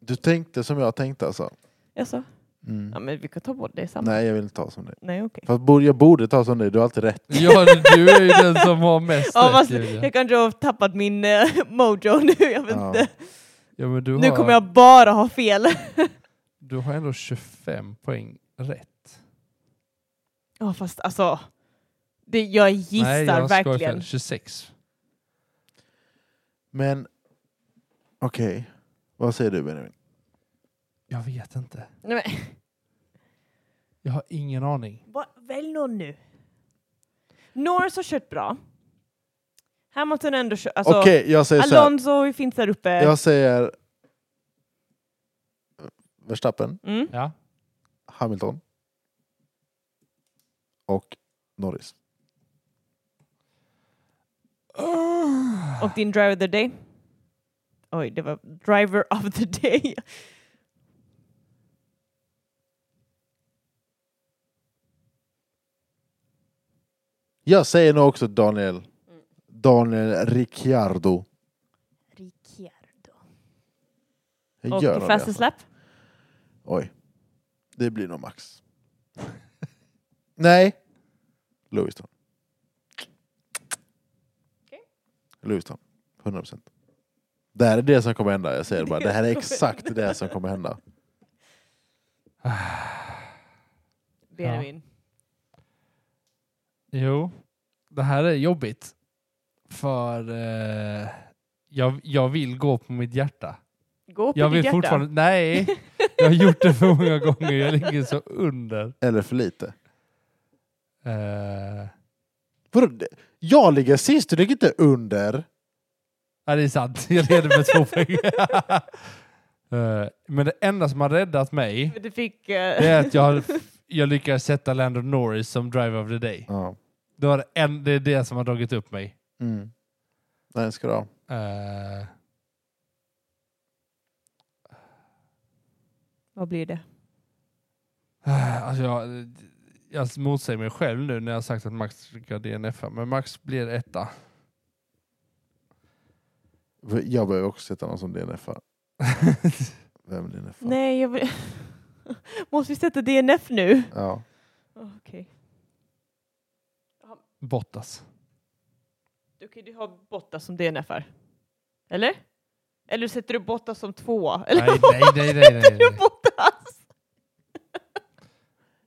Du tänkte som jag tänkte alltså. Jaså? Mm. Ja, men vi kan ta bort det samma. Nej jag vill inte ta som dig. Nej, okej. Fast borde- jag borde ta som dig, du har alltid rätt. Ja, du är ju den som har mest Ja, rätt fast Julia. jag kanske har tappat min eh, mojo nu. Jag vet Ja. inte. Ja, men du, Nu har, kommer jag bara ha fel. du har ändå 25 poäng rätt. Ja, fast alltså. Det, jag gissar Nej, jag skojar verkligen. fel. 26. Men okej, vad säger du Benjamin? Jag vet inte. Nej, men, Jag har ingen aning. vad- välj någon nu. Norris har kört bra. Hamilton ändå kör, alltså, Okej, jag säger så här. Alonso finns där uppe. Jag säger eh, Verstappen, Mm. Ja. Hamilton och Norris. Ah. Och din driver of the day? Oj, det var driver of the day. Jag säger nog också Daniel. Mm. Daniel Ricciardo. Ricciardo. Jag gör nog Och det, fastest alltså. lap? Oj. Det blir nog Max. Nej. Lewis då. Okej. Lewis då. 100 procent. Det här är det som kommer hända. Jag säger det bara. Det här är exakt det som kommer hända. Benjamin. Jo, det här är jobbigt. För eh, jag, jag vill gå på mitt hjärta. Gå på jag ditt vill hjärta. fortfarande... Nej! Jag har gjort det för många gånger. Jag ligger så under. Eller för lite. Eh, Vadå? Det- Jag ligger sist. Du ligger inte under. Ja, det är sant. Jag leder med två poäng. Eh, Men det enda som har räddat mig, Du fick... eh, det är att jag, har- jag lyckades sätta Lando Norris som driver of the day. Ja. Det, var det, en, det är det som har dragit upp mig. Mm. Nej, ska du ha. Eh, Vad blir det? Alltså jag, jag motsäger mig själv nu när jag har sagt att Max ska DNF, men Max blir etta. Jag behöver också sätta någon som DNFar. Vem DNFar? Nej, jag vill... Måste vi sätta DNF nu? Ja. Okej. Bottas. Du kan ju ha Bottas som DNF här. Eller? Eller sätter du Bottas som tvåa? Eller Nej, vad nej, nej, nej, nej, sätter du nej. Bottas?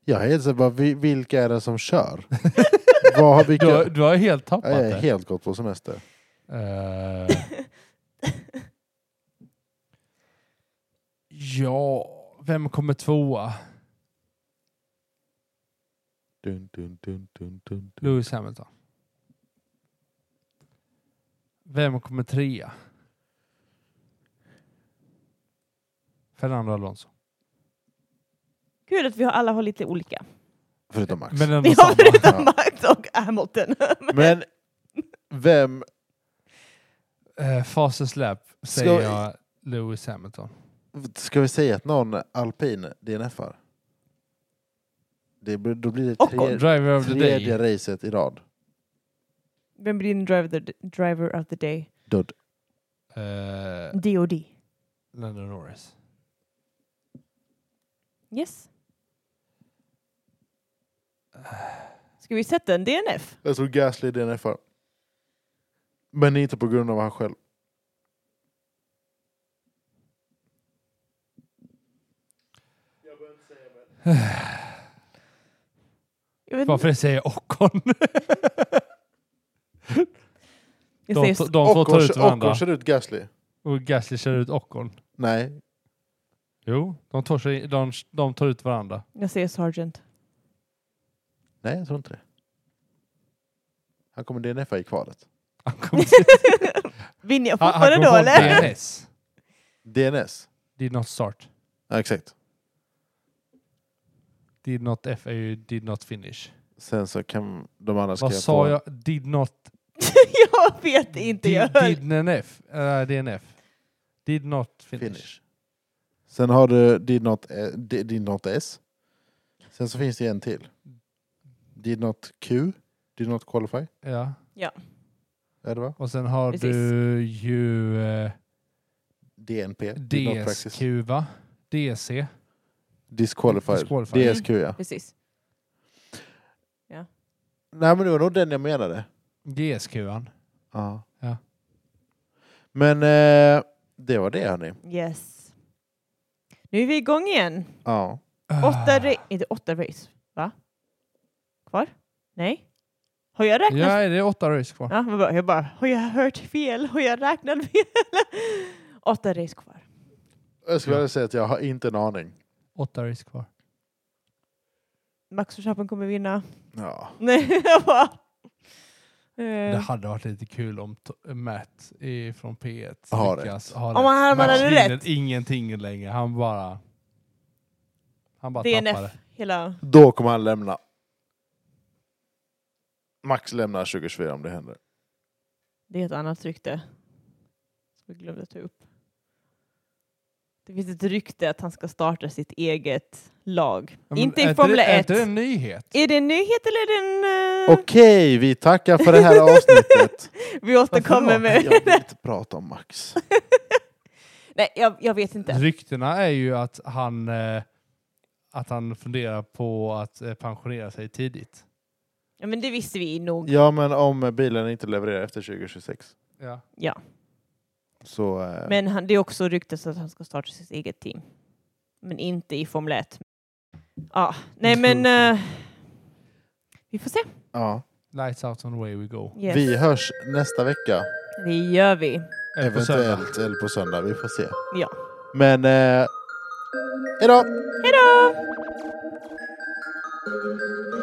Jag är helt så här bara, vi- vilka är det som kör? Vad har vilka? Du, har- du har helt tappat jag är det. helt gott på semester. Eh, ja, vem kommer tvåa? Dun, dun, dun, dun, dun, dun. Lewis Hamilton. Vem kommer trea? Fernando Alonso. Kul att vi har alla har lite olika. Förutom Max. Men Men, ändå Vi samma. har förutom Ja. Max och Hamilton. vem, Eh, fastest lap säger Ska- jag Lewis Hamilton. ska vi säga att någon alpin DNFar? Det, blir- då blir det Och tre, Driver of the tredje day. racet i rad. Vem blir din driver, the, driver of the day? Dudd. Eh, DOD. Lando Norris. Yes. Ska vi sätta en DNF? Jag tror Gasly DNFar. Men inte på grund av han själv. Jag, vet, Varför inte. säger jag Ocon? jag De, säger to- s- de två Ocon tar kö- ut varandra. Ocon kör ut Gasly. Och Gasly kör ut Ocon. Nej, Jo, de tar, sig, de, de tar ut varandra. jag säger Sargent. nej jag tror inte det. Han kommer DNFa i kvalet. Han kommer sitta- Vinner jag han- han fortfarande kommer då få eller? det. DNS. DNS. Did not start. Ja, exakt. Did not F är ju did not finish. Sen så kan de andra skriva Vad sa på. jag? Did not... jag vet inte, jag Did, höll. did F. eh, DNF. Did not finish. Finish. Sen har du did not, eh, did did not S. Sen så finns det en till. Did not Q. Did not qualify. Ja. Är det va? Och sen har Precis. du ju eh, DNP. Did not practice. DSQ va? DC. Disqualified. Disqualified. DSQ ja. Precis. Nej men det var nog den jag menade. DSQ-an. Ja. Ja. Men eh, det var det hörni. Yes. Nu är vi igång igen. Ja. Ah. Åtta race, inte åtta race, va? Kvar? Nej? Har jag räknat? Ja, det är åtta race kvar. Ja, vad bra. jag bara, har jag hört fel? Har jag räknat fel? åtta race kvar. Jag skulle Ja. vilja säga att jag har inte en aning. Åtta race kvar. Max Verstappen kommer vinna. Ja. Nej, jag bara, Det Eh, hade varit lite kul om T- Matt i- från P1 Har lyckas rätt. ha Om han hade- Matt hade vinner rätt. ingenting längre. Han bara... Han bara tappade. DNF, hela... Då kommer han lämna. Max lämnar 2024 om det händer. Det är ett annat rykte. Som vi glömde ta upp. Det finns ett rykte att han ska starta sitt eget lag. Ja, men Inte är i det- Formel 1. Är inte det en nyhet? Är det en nyhet eller är det en... eh, Okej, vi tackar för det här avsnittet. Vi återkommer Varför med... Jag vill inte prata om Max. Nej, jag, jag vet inte. Ryktena är ju att han, eh, att han funderar på att eh, pensionera sig tidigt. Ja, men det visste vi nog. Ja, men om bilen inte levererar efter 2026 Ja. Ja. så... eh, Men han, det är också ryktet att han ska starta sitt eget team. Men inte i Formel 1. Ja, nej men... Mm. eh, vi får se. Ja. Lights out and away we go. Yes. Vi hörs nästa vecka. Det gör vi. Eller på söndag. Eventuellt eller på söndag. Vi får se. Ja. Men... Eh, hejdå! Hej då!